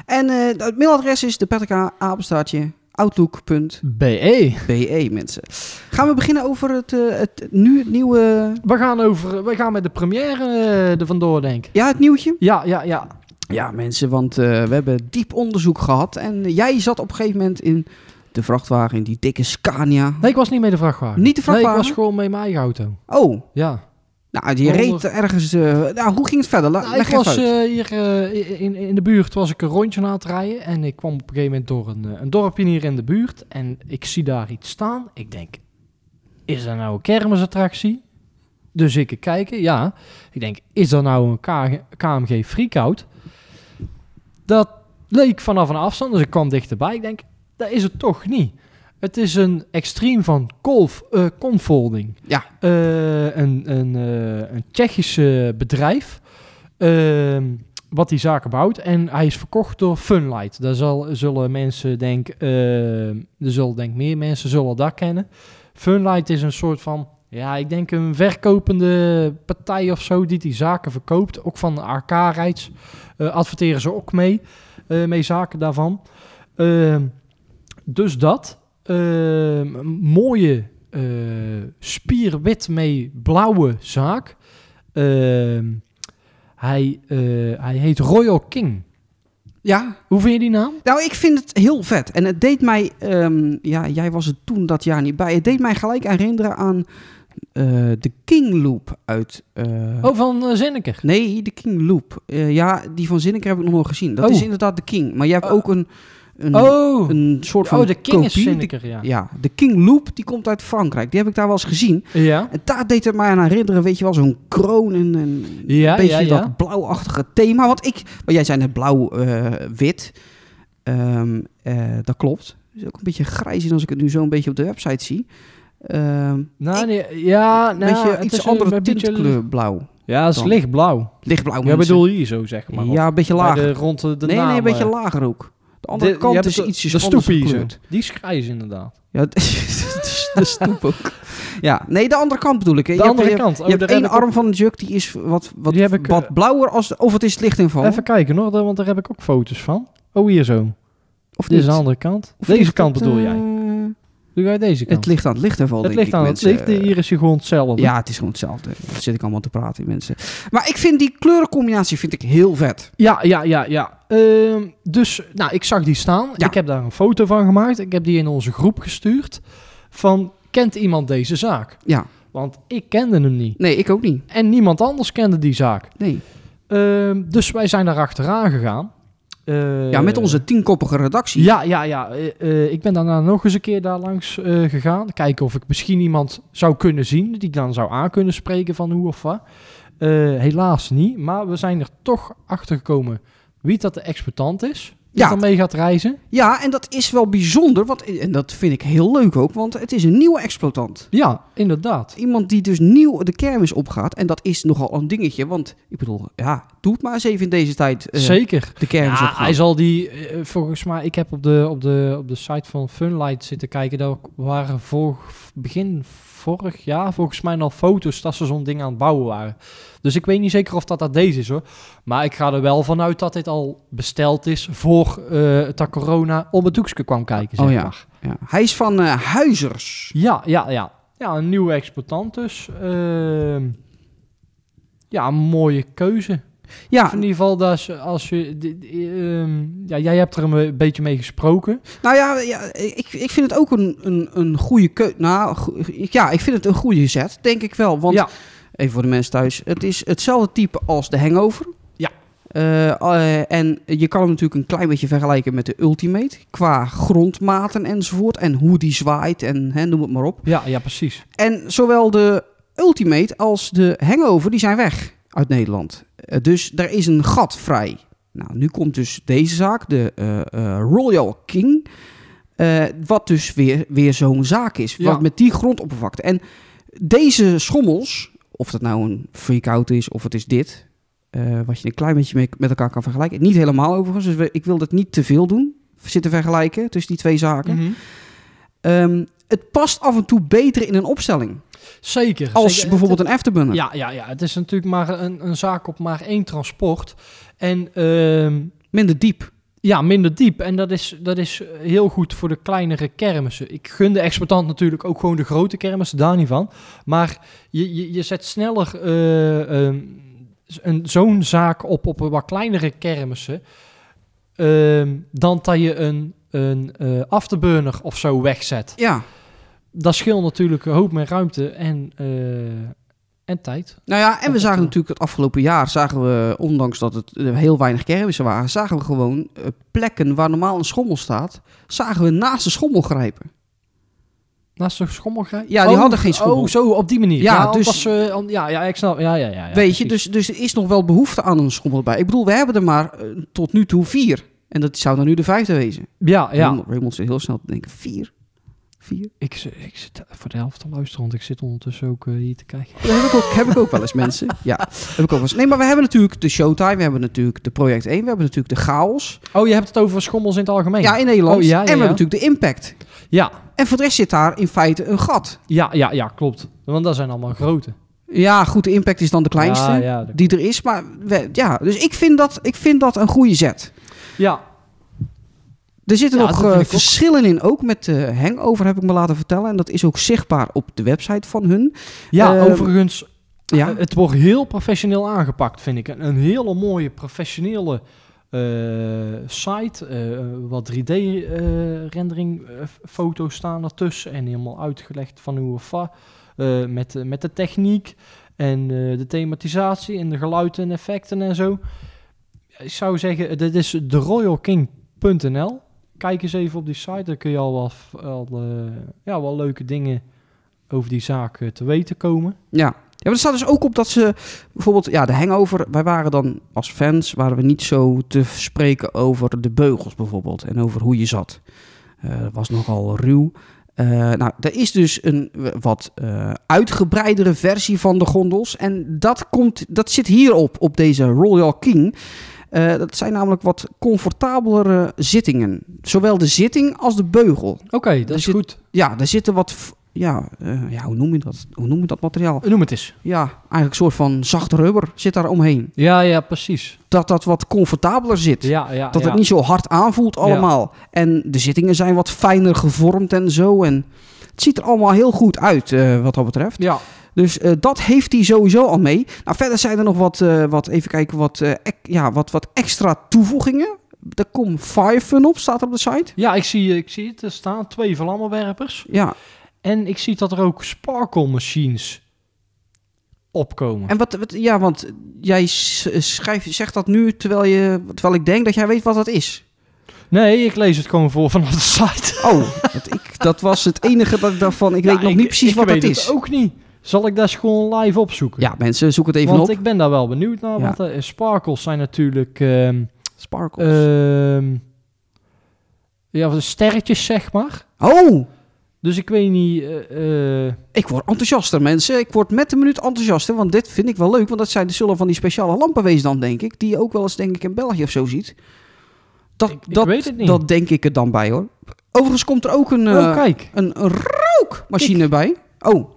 E: En eh, het mailadres is de outlook.be,
D: BE.
E: mensen. Gaan we beginnen over het, eh, het, nu het nieuwe...
D: We gaan, over, we gaan met de première eh, er vandoor, denk ik.
E: Ja, het nieuwtje?
D: Ja, ja, ja.
E: Ja, mensen, want eh, we hebben diep onderzoek gehad. En jij zat op een gegeven moment in de vrachtwagen, in die dikke Scania.
D: Nee, ik was niet mee de vrachtwagen.
E: Niet de vrachtwagen?
D: Nee, ik was gewoon mee mijn eigen auto.
E: Oh,
D: Ja.
E: nou, die
D: Honderd-
E: reed ergens... eh, nou, hoe ging het verder? La,
D: Nou, ik
E: leg even
D: was
E: uit.
D: eh, hier eh, in, in de buurt was ik een rondje aan het rijden. En ik kwam op een gegeven moment door een, eh, een dorpje hier in de buurt. En ik zie daar iets staan. Ik denk, is dat nou een kermisattractie? Dus ik kijken, ja. Ik denk, is dat nou een K- KMG freakout? Dat leek vanaf een afstand, dus ik kwam dichterbij. Ik denk, dat is het toch niet. Het is een extreem van kolf, eh confolding.
E: Ja.
D: Eh, een, een, eh, een Tsjechische bedrijf. ehm, wat die zaken bouwt. En hij is verkocht door Funlight. Daar zal, zullen mensen, denk, eh, er zullen denk meer mensen zullen dat kennen. Funlight is een soort van, ja, ik denk een verkopende partij of zo die die zaken verkoopt. Ook van AK-rights eh, adverteren ze ook mee, eh, mee zaken daarvan. Ehm, dus dat. Ehm, een mooie eh, spierwit mee blauwe zaak. Ehm, hij, eh, hij heet Royal King.
E: Ja,
D: Hoe vind je die naam?
E: nou, ik vind het heel vet. En het deed mij... ehm, ja, jij was er toen dat jaar niet bij. Het deed mij gelijk herinneren aan eh, de King Loop uit... eh,
D: Oh, van eh, Zinneker.
E: Nee, de King Loop. Eh, ja, die van Zinneker heb ik nog nooit gezien. Dat
D: Oh.
E: is inderdaad de King. Maar jij hebt
D: Oh.
E: ook een... een
D: Oh,
E: een soort van
D: oh de King is
E: kopie. De-
D: Zinneker, ja.
E: Ja, de King Loop, die komt uit Frankrijk. Die heb ik daar wel eens gezien.
D: Ja,
E: En daar deed het mij aan herinneren, weet je wel, zo'n kroon en en een
D: ja,
E: beetje
D: ja. ja.
E: dat blauwachtige thema. Want ik, maar jij zei net eh, blauw-wit. Ehm, eh, dat klopt. Het is ook een beetje grijs in als ik het nu zo een beetje op de website zie. Ehm
D: Nou, nee, ja,
E: een
D: nou,
E: beetje
D: het
E: iets
D: is een-
E: andere
D: een beetje-
E: tintkleur blauw.
D: Ja, het is
E: dan.
D: lichtblauw.
E: Lichtblauw,
D: Ja,
E: mensen.
D: bedoel hier zo, zeg maar. op.
E: Ja, een beetje
D: Bij
E: lager.
D: de, rond de, de
E: nee,
D: naam,
E: nee, een beetje
D: eh.
E: lager ook. De andere
D: De- je
E: kant
D: hebt
E: is
D: de-
E: ietsjes
D: de
E: anders
D: stoepie zo.
E: gekleurd.
D: Die is grijs inderdaad.
E: Ja, dat is de stoep ook. Ja, nee, de andere kant bedoel ik. hè.
D: De
E: Je hebt-
D: andere
E: je-
D: kant.
E: Je
D: Oh,
E: hebt
D: daar
E: één
D: heb ik ook-
E: arm van de juk, die is wat, wat,
D: Die heb ik,
E: wat
D: eh,
E: blauwer als... de- of het is lichtinval.
D: Even kijken hoor, want daar heb ik ook foto's van. Oh, hier zo.
E: of
D: Dit is
E: niet?
D: de andere kant.
E: Of
D: deze
E: ligt
D: kant
E: het,
D: bedoel
E: eh,
D: jij? Doe jij deze kant?
E: Het ligt aan het lichtinval,
D: Het
E: denk
D: ligt
E: ik,
D: aan het
E: mensen. eh,
D: licht. Hier is hij gewoon hetzelfde.
E: Ja, het is gewoon hetzelfde. Dat zit ik allemaal te praten, die mensen. Maar ik vind die kleurencombinatie vind ik heel vet.
D: Ja, ja, ja, ja. Ehm, dus, nou, ik zag die staan.
E: Ja.
D: Ik heb daar een foto van gemaakt. Ik heb die in onze groep gestuurd. Van, kent iemand deze zaak?
E: Ja.
D: Want ik kende hem niet.
E: Nee, ik ook niet.
D: En niemand anders kende die zaak.
E: Nee.
D: Ehm, dus wij zijn daar achteraan gegaan. Eh,
E: Ja, met onze tienkoppige redactie.
D: Ja, ja, ja. Eh, eh, ik ben daarna nog eens een keer daar langs eh, gegaan. Kijken of ik misschien iemand zou kunnen zien die ik dan zou aan kunnen spreken van hoe of wat. Eh, helaas niet, maar we zijn er toch achter gekomen wie dat de exploitant is. Die
E: Ja.
D: dan mee gaat reizen.
E: Ja, en dat is wel bijzonder. Want, en dat vind ik heel leuk ook, want het is een nieuwe exploitant.
D: Ja, inderdaad.
E: Iemand die dus nieuw de kermis opgaat. En dat is nogal een dingetje. Want ik bedoel, ja, doe het maar eens even in deze tijd. eh,
D: Zeker.
E: De kermis
D: Ja,
E: opgaan.
D: hij zal die, eh, volgens mij, ik heb op de, op, de, op de site van Funlight zitten kijken. Daar waren vor, begin vorig jaar volgens mij al foto's dat ze zo'n ding aan het bouwen waren. Dus ik weet niet zeker of dat, dat deze is hoor. Maar ik ga er wel vanuit dat dit al besteld is voor eh dat corona op het doekje kwam kijken. Zeg
E: Oh ja.
D: maar.
E: Ja, hij is van eh, Huizers.
D: ja, ja, ja. Ja, een nieuwe exploitant dus. Ehm, ja, een mooie keuze.
E: Ja,
D: Of in ieder geval, dat is, als je, di- di- ehm, ja, jij hebt er een eh, beetje mee gesproken.
E: nou ja, ja ik, ik vind het ook een, een, een goede keu... Nou, go- ik- ja, ik vind het een goede zet, denk ik wel. Want
D: ja,
E: Even voor de mensen thuis. Het is hetzelfde type als de Hangover.
D: Ja.
E: Eh, eh, en je kan hem natuurlijk een klein beetje vergelijken met de Ultimate. Qua grondmaten enzovoort. En hoe die zwaait en hè, noem het maar op.
D: Ja, ja, precies.
E: En zowel de Ultimate als de Hangover die zijn weg uit Nederland. Eh, dus er is een gat vrij. Nou, nu komt dus deze zaak, de eh, eh, Royal King. eh, wat dus weer, weer zo'n zaak is.
D: Ja.
E: Wat met die grondoppervlakte. En deze schommels, of dat nou een freak-out is of het is dit. eh, wat je een klein beetje mee, met elkaar kan vergelijken. Niet helemaal overigens, dus we- ik wil dat niet te veel doen. Zitten vergelijken tussen die twee zaken.
D: Mhm.
E: Ehm, het past af en toe beter in een opstelling.
D: Zeker.
E: Als
D: zeker.
E: bijvoorbeeld een afterburner.
D: Ja, ja, ja, het is natuurlijk maar een, een zaak op maar één transport. En ehm,
E: Minder diep.
D: ja, minder diep. En dat is, dat is heel goed voor de kleinere kermissen. Ik gun de exportant natuurlijk ook gewoon de grote kermissen, daar niet van. Maar je, je, je zet sneller eh, ehm, z- een zo'n zaak op op een wat kleinere kermissen... ehm, dan dat je een, een eh afterburner of zo wegzet.
E: Ja.
D: Dat scheelt natuurlijk een hoop meer ruimte en, eh, en tijd.
E: Nou ja, en we
D: dat
E: zagen
D: wel.
E: natuurlijk het afgelopen jaar, zagen we, ondanks dat het eh, heel weinig kermissen waren, zagen we gewoon eh, plekken waar normaal een schommel staat, zagen we naast de schommel grijpen.
D: Naast de schommelgrij?
E: Ja, die hadden geen schommel.
D: Oh, zo op die manier.
E: Ja,
D: Ja,
E: dus-
D: dus... ja, ja, ik snap. Ja, ja, ja, ja,
E: Weet je,
D: precies.
E: dus, dus er is nog wel behoefte aan een schommel bij. Ik bedoel, we hebben er maar eh, tot nu toe vier. En dat zou dan nu de vijfde wezen.
D: Ja, ja.
E: Raymond, Raymond zit heel snel te denken, vier? Vier?
D: Ik, zit- ik zit voor de helft te luisteren, want ik zit ondertussen ook eh, hier te kijken.
E: Dat heb ik ook, heb ik ook wel eens, mensen. Ja, heb ik ook wel eens. Nee, maar we hebben natuurlijk de Showtime, we hebben natuurlijk de Project 1, we hebben natuurlijk de Chaos.
D: Oh, je hebt het over schommels in het algemeen.
E: Ja, in Nederland.
D: Oh, ja, ja,
E: en we hebben
D: ja.
E: natuurlijk de Impact.
D: ja,
E: En voor de rest zit daar in feite een gat.
D: ja, ja, ja, klopt. Want dat zijn allemaal grote.
E: Ja, goed, de Impact is dan de kleinste
D: Ja, ja, dat-
E: die er is. Maar we- ja, dus ik vind, dat, ik vind dat een goede zet.
D: ja.
E: Er zitten
D: Ja, dat
E: nog
D: vind
E: eh,
D: ik ook.
E: verschillen in, ook met de Hangover heb ik me laten vertellen. En dat is ook zichtbaar op de website van hun.
D: ja
E: Ehm,
D: overigens,
E: Ja,
D: eh, het wordt heel professioneel aangepakt, vind ik. Een, een hele mooie professionele eh, site. eh, wat eh, 3D-rendering foto's staan ertussen. En helemaal uitgelegd van hoe of wat. eh, met, eh, met de techniek en eh, de thematisatie en de geluiden en effecten en zo. Ik zou zeggen, eh, dit is de royalking.nl. Kijk eens even op die site, daar kun je al wel, f- al, eh, ja, wel leuke dingen over die zaak eh, te weten komen.
E: ja. Ja, maar er staat dus ook op dat ze bijvoorbeeld, ja, de hangover. Wij waren dan als fans, waren we niet zo te spreken over de beugels bijvoorbeeld. En over hoe je zat. Eh, Dat was nogal ruw. Eh, nou, er is dus een eh, wat eh, uitgebreidere versie van de gondels. En dat, komt, dat zit hierop, op deze Royal King. Eh, dat zijn namelijk wat comfortabelere zittingen. Zowel de zitting als de beugel.
D: Oké, dat
E: is
D: is goed.
E: Ja, daar zitten wat. v- Ja, eh, ja hoe, noem je dat? hoe noem je dat materiaal?
D: Noem het eens.
E: ja, eigenlijk een soort van zacht rubber zit daar omheen.
D: Ja, ja, precies.
E: Dat dat wat comfortabeler zit.
D: Ja, ja,
E: dat
D: ja.
E: het niet zo hard aanvoelt allemaal. En de zittingen zijn wat fijner gevormd en zo. En het ziet er allemaal heel goed uit eh, wat dat betreft.
D: Ja,
E: Dus eh, dat heeft hij sowieso al mee. Nou, verder zijn er nog wat, eh, wat even kijken, wat, eh, ek- ja, wat, wat extra toevoegingen. Daar komt Firefun op, staat er op de site.
D: ja ik, zie, ik zie het. Er staan twee vlammenwerpers.
E: Ja,
D: En ik zie dat er ook sparkle machines opkomen.
E: en wat, wat, ja want jij s- schrijft, zegt dat nu terwijl, je, terwijl ik denk dat jij weet wat dat is.
D: Nee, ik lees het gewoon voor vanaf de site.
E: Oh, dat, ik, dat was het enige dat ik daarvan. Ik
D: Ja,
E: weet nog niet precies
D: ik
E: wat
D: weet
E: dat is.
D: ook niet. Zal ik dat eens gewoon live opzoeken?
E: Ja, mensen, zoek het even
D: want
E: op.
D: ik ben daar wel benieuwd naar. Want eh, sparkles zijn natuurlijk... ehm,
E: Sparkles.
D: ehm, ja, de sterretjes, zeg maar.
E: oh,
D: Dus ik weet niet... eh, eh,
E: ik word enthousiaster, mensen. Ik word met de minuut enthousiaster, want dit vind ik wel leuk. Want dat zijn de zullen van die speciale lampen wezen dan, denk ik. Die je ook wel eens, denk ik, in België of zo ziet. Dat,
D: Ik- ik
E: dat,
D: weet het niet.
E: dat denk ik er dan bij, hoor. Overigens komt er ook een, eh,
D: oh, kijk.
E: een, een rookmachine bij. Oh,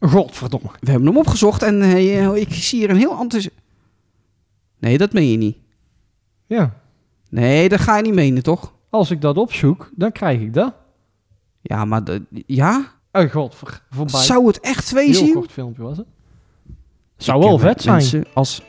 D: Godverdomme.
E: we hebben hem opgezocht en eh, ik zie hier een heel enthousi... Nee, dat meen je niet.
D: Ja.
E: Nee, dat ga je niet menen, toch?
D: Als ik dat opzoek, dan krijg ik dat.
E: Ja, maar... dat- Ja?
D: Oh god, voor, voorbij.
E: Zou het echt twee
D: Heel
E: zien?
D: kort filmpje was het. Zou wel vet zijn.
E: als...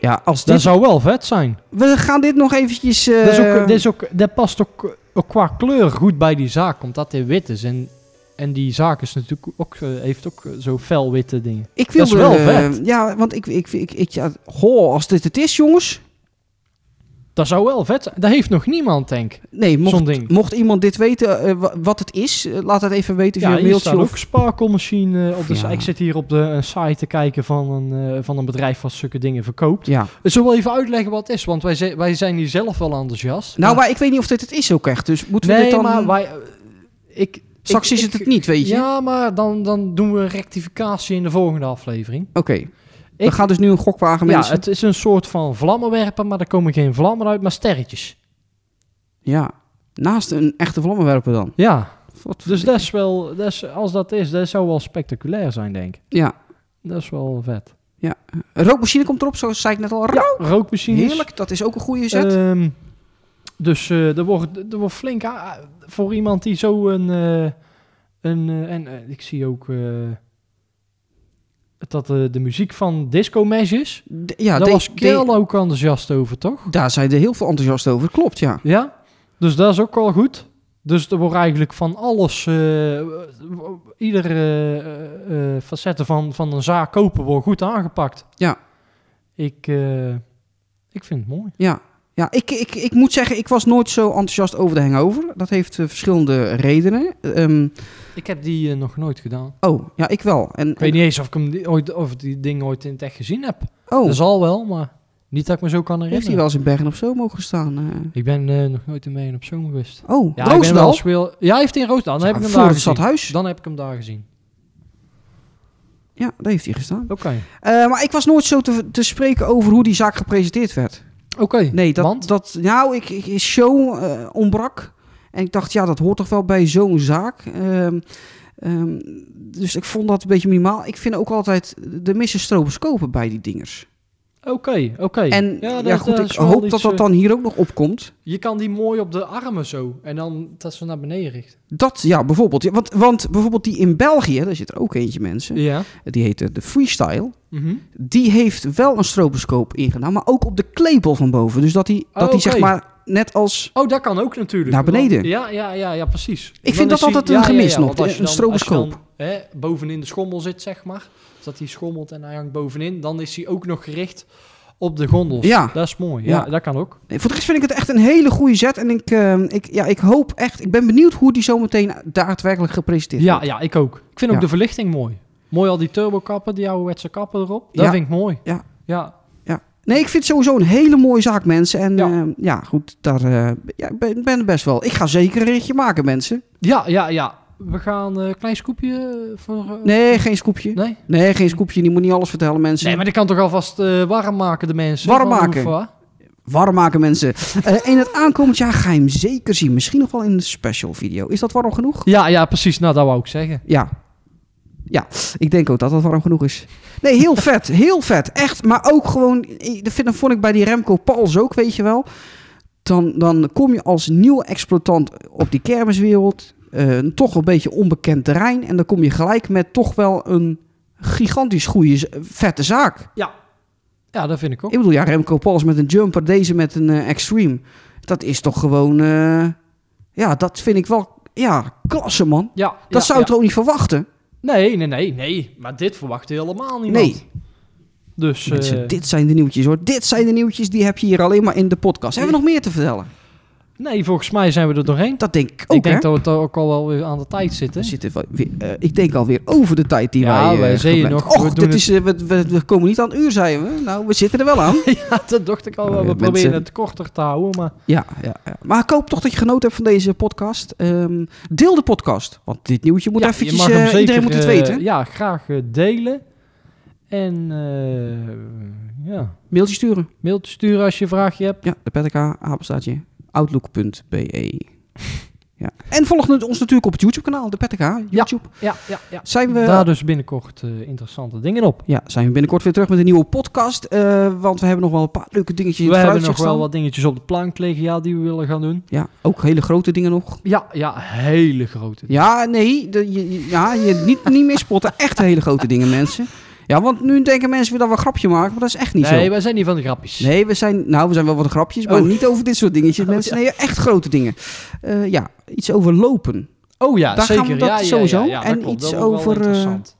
E: Ja, als
D: Dat
E: dit...
D: zou wel vet zijn.
E: We gaan dit nog eventjes... eh,
D: dat, is ook, dat, is ook, dat past ook, ook qua kleur goed bij die zaak, omdat hij wit is. En En die zaak is natuurlijk ook, eh, heeft ook eh, zo fel witte dingen.
E: Ik wil
D: Dat is wel
E: er, eh,
D: vet.
E: Ja, want ik, ik, ik, ik ja, goh, als dit het is, jongens.
D: Dat zou wel vet zijn. Dat heeft nog niemand, denk ik.
E: Nee, mocht,
D: Zo'n ding.
E: mocht iemand dit weten, eh, wa- wat het is, eh, laat het even weten via
D: Ja,
E: een
D: hier staat
E: mailtje. Of,
D: ook sparkelmachine eh, op de
E: Ja.
D: si- Ik zit hier op de een site te kijken van een, eh, van een bedrijf wat zulke dingen verkoopt.
E: ja.
D: Ik zal wel even uitleggen wat het is, want wij, zi- wij zijn hier zelf wel enthousiast.
E: Nou,
D: maar,
E: maar ik weet niet of dit het is ook echt. Dus moeten we
D: nee,
E: dit dan...
D: maar wij... eh, Ik,
E: straks
D: ik-
E: is
D: ik-
E: het het niet, weet je.
D: Ja, maar dan, dan doen we een rectificatie in de volgende aflevering.
E: Oké, we gaan dus nu een gokwagen,
D: ja,
E: mensen.
D: het is een soort van vlammenwerper, maar er komen geen vlammen uit, maar sterretjes.
E: Ja, naast een echte vlammenwerper dan.
D: Ja,
E: Wat
D: dus dat is wel, dat is, als dat is, dat zou wel spectaculair zijn, denk ik.
E: Ja,
D: Dat is wel vet.
E: een rookmachine komt erop, zoals zei ik net al.
D: Ja, rookmachines.
E: Heerlijk, dat is ook een goede zet.
D: Ehm, dus eh, er, wordt, er wordt flink a- voor iemand die zo een. eh, een eh, en eh, ik zie ook. eh, dat eh, de muziek van Disco Mesh is.
E: D- ja,
D: Daar
E: de-
D: was
E: de-
D: Kel ook enthousiast over, toch?
E: daar zijn er heel veel enthousiast over, klopt, ja.
D: Ja, dus dat is ook wel goed. Dus er wordt eigenlijk van alles, eh iedere eh, eh, facetten van, van een zaak kopen, wordt goed aangepakt.
E: Ja.
D: Ik, eh, ik vind het mooi.
E: Ja, ja ik, ik, ik moet zeggen, ik was nooit zo enthousiast over de hangover. Dat heeft eh, verschillende redenen. Ehm,
D: Ik heb die eh, nog nooit gedaan.
E: oh, ja, ik wel. En,
D: Ik weet niet eens of ik hem die, ooit, of ik die ding ooit in het echt gezien heb.
E: Oh,
D: Dat zal wel, maar niet dat ik me zo kan
E: heeft hij
D: herinneren.
E: wel eens in Bergen op Zoom mogen staan? eh?
D: Ik ben eh, nog nooit in mee op zomer geweest.
E: oh,
D: Ja, ik ben wel
E: Roosdal?
D: eens wel- ja, hij heeft in Roosdal. Dan heb ik hem
E: voor
D: daar
E: het
D: gezien.
E: stadhuis.
D: Dan heb ik hem daar gezien.
E: Ja, daar heeft hij gestaan.
D: Oké.
E: Eh, maar ik was nooit zo te, te spreken over hoe die zaak gepresenteerd werd.
D: Oké.
E: Nee, dat,
D: Want?
E: dat nou, ik, ik show eh, ontbrak. En ik dacht, ja, dat hoort toch wel bij zo'n zaak. Ehm, ehm, dus ik vond dat een beetje minimaal. Ik vind ook altijd, de missen stroboscopen bij die dingers.
D: Oké, oké.
E: En ja,
D: dat-
E: goed,
D: dat
E: ik
D: is wel
E: hoop
D: iets,
E: dat dat
D: eh,
E: dan hier ook nog opkomt.
D: Je kan die mooi op de armen zo. En dan dat ze naar beneden richt.
E: Dat, ja, bijvoorbeeld. Ja, want, want bijvoorbeeld die in België, daar zit er ook eentje mensen.
D: Ja.
E: Die heette de Freestyle.
D: Mhm.
E: Die heeft wel een stroboscoop ingedaan, maar ook op de klepel van boven. Dus dat die, dat
D: Oh,
E: die
D: oké.
E: zeg maar net als...
D: Oh, dat kan ook natuurlijk.
E: Naar beneden.
D: Want- ja, ja, ja, ja, precies.
E: Ik vind dat
D: is die-
E: altijd een gemis nog,
D: want als je
E: een
D: dan-
E: stroboscoop.
D: als je dan, hè, bovenin de schommel zit, zeg maar. Dus Dat hij schommelt en hij hangt bovenin. Dan is hij ook nog gericht op de gondels.
E: Ja.
D: Dat is mooi. Ja,
E: Ja.
D: dat kan ook.
E: Nee, voor de rest vind ik het echt een hele goede zet. En ik, ehm, ik, ja, ik hoop echt, ik ben benieuwd hoe die zometeen daadwerkelijk gepresenteerd
D: Ja,
E: wordt.
D: ja, ik ook. Ik vind ook
E: Ja.
D: de verlichting mooi. Mooi al die turbokappen, die ouderwetse kappen erop. Dat
E: Ja.
D: vind ik mooi.
E: Ja.
D: Ja.
E: Nee, ik vind het sowieso een hele mooie zaak, mensen. En
D: Ja.
E: ja, ja goed, daar eh, ja, ik ben, ben er best wel. Ik ga zeker een ritje maken, mensen.
D: Ja, ja, ja. We gaan eh, een klein scoopje eh, voor... eh,
E: Nee, geen scoopje. Nee,
D: Nee?
E: geen scoopje. Die moet niet alles vertellen, mensen.
D: Nee, maar dat kan toch alvast eh, warm maken, de mensen?
E: Warm
D: Van de
E: maken.
D: Hoefa?
E: Warm maken, mensen. Eh, in het aankomend jaar ga je hem zeker zien. Misschien nog wel in een special video. Is dat warm genoeg?
D: Ja, ja, precies. Nou, dat wou ik zeggen.
E: Ja. Ja, ik denk ook dat dat warm genoeg is. Nee, heel vet. Heel vet. Echt. Maar ook gewoon... eh, Dat vind- dat vond ik bij die Remco Pals ook, weet je wel. Dan, dan kom je als nieuw exploitant op die kermiswereld. eh, een toch een beetje onbekend terrein. En dan kom je gelijk met toch wel een gigantisch goede, z- vette zaak.
D: Ja, dat vind ik ook.
E: Ik bedoel, ja, Remco Pals met een jumper. Deze met een eh, extreme. Dat is toch gewoon... eh, ja, dat vind ik wel... Ja, klasse, man.
D: Ja,
E: Dat
D: ja,
E: zou
D: ja.
E: je toch ook niet verwachten?
D: Nee, nee, nee, nee. Maar dit verwacht helemaal niemand.
E: Nee.
D: Dus,
E: Mensen,
D: eh,
E: dit zijn de nieuwtjes hoor. Dit zijn de nieuwtjes, die heb je hier alleen maar in de podcast. Hebben we nog meer te vertellen?
D: nee, volgens mij zijn we er doorheen.
E: Dat denk ik ook,
D: ik denk
E: hè?
D: dat we toch ook al wel weer aan de tijd zitten.
E: We zitten wel weer, eh, ik denk alweer over de tijd die
D: Ja,
E: wij... eh,
D: wij zijn
E: gepland-
D: nog- we
E: Och,
D: doen
E: dit
D: het-
E: is, eh, we, we, we komen niet aan het uur, zeiden we. Nou, we zitten er wel aan.
D: ja, dat dacht ik al wel. We
E: Eh, mensen-
D: proberen het korter te houden, maar...
E: ja, ja, ja. Maar ik hoop toch dat je genoten hebt van deze podcast. Ehm, deel de podcast, want dit nieuwtje moet
D: ja, je
E: eventjes...
D: mag hem
E: eh,
D: zeker,
E: iedereen moet het
D: eh,
E: weten.
D: ja, graag eh, delen. En, eh ja...
E: Mailtje sturen.
D: Mailtje sturen als je een vraagje hebt.
E: Ja, de petk, apenstaartje, outlook.be. Ja. En volg ons natuurlijk op het YouTube-kanaal, de petk, YouTube.
D: Ja, ja, ja.
E: Zijn we...
D: Daar dus binnenkort eh, interessante dingen op.
E: Ja, zijn we binnenkort weer terug met een nieuwe podcast. eh, want we hebben nog wel een paar leuke dingetjes in
D: We
E: het
D: hebben nog
E: vooruitzicht
D: wel
E: staan.
D: wat dingetjes op de plank liggen, ja, die we willen gaan doen.
E: Ja, ook hele grote dingen nog.
D: Ja, ja, hele grote.
E: Ja, nee, de, je- je, ja, je niet, niet meer spotten. Echt hele grote dingen, mensen. Ja, want nu denken mensen weer dat we een grapje maken, maar dat is echt niet
D: nee,
E: zo.
D: wij zijn niet van de grapjes.
E: Nee, we zijn, nou, we zijn wel wat grapjes, maar
D: Oh.
E: niet over dit soort dingetjes, mensen. Nee, echt grote dingen. Eh, ja, iets over lopen.
D: Oh ja,
E: Daar gaan
D: zeker.
E: we dat
D: ja, ja,
E: sowieso.
D: Ja, ja, dat
E: En
D: klopt.
E: iets
D: dat wordt wel
E: over, eh,
D: interessant.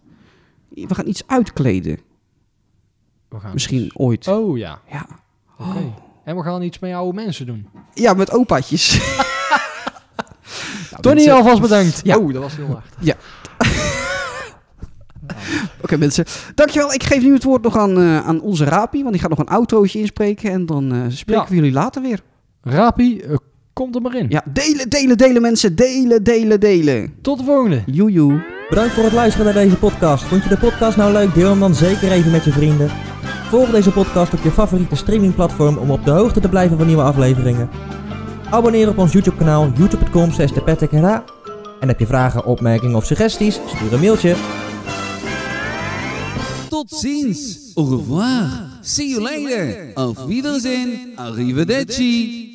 E: We gaan iets uitkleden.
D: We gaan
E: Misschien Oh. ooit.
D: dus- Oh ja.
E: Ja.
D: Oké. En we gaan iets met oude mensen doen.
E: ja, met opaatjes. Nou,
D: Tony,
E: mensen-
D: alvast bedankt.
E: Ja.
D: Oh, dat was heel hard.
E: Oké mensen, dankjewel. Ik geef nu het woord nog aan, eh, aan onze Rapi, want die gaat nog een outrootje inspreken. En dan eh, spreken
D: Ja.
E: we jullie later weer.
D: Rapi, eh, kom er maar in.
E: Ja, delen, delen, delen mensen. Delen, delen, delen.
D: Tot de volgende.
E: Joejoe.
C: Bedankt voor het luisteren naar deze podcast. Vond je de podcast nou leuk? Deel hem dan zeker even met je vrienden. Volg deze podcast op je favoriete streamingplatform om op de hoogte te blijven van nieuwe afleveringen. Abonneer op ons YouTube kanaal youtube.com slash En heb je vragen, opmerkingen of suggesties? Stuur een mailtje.
F: Tot ziens. Au revoir. See you later. Auf Wiedersehen. Arrivederci.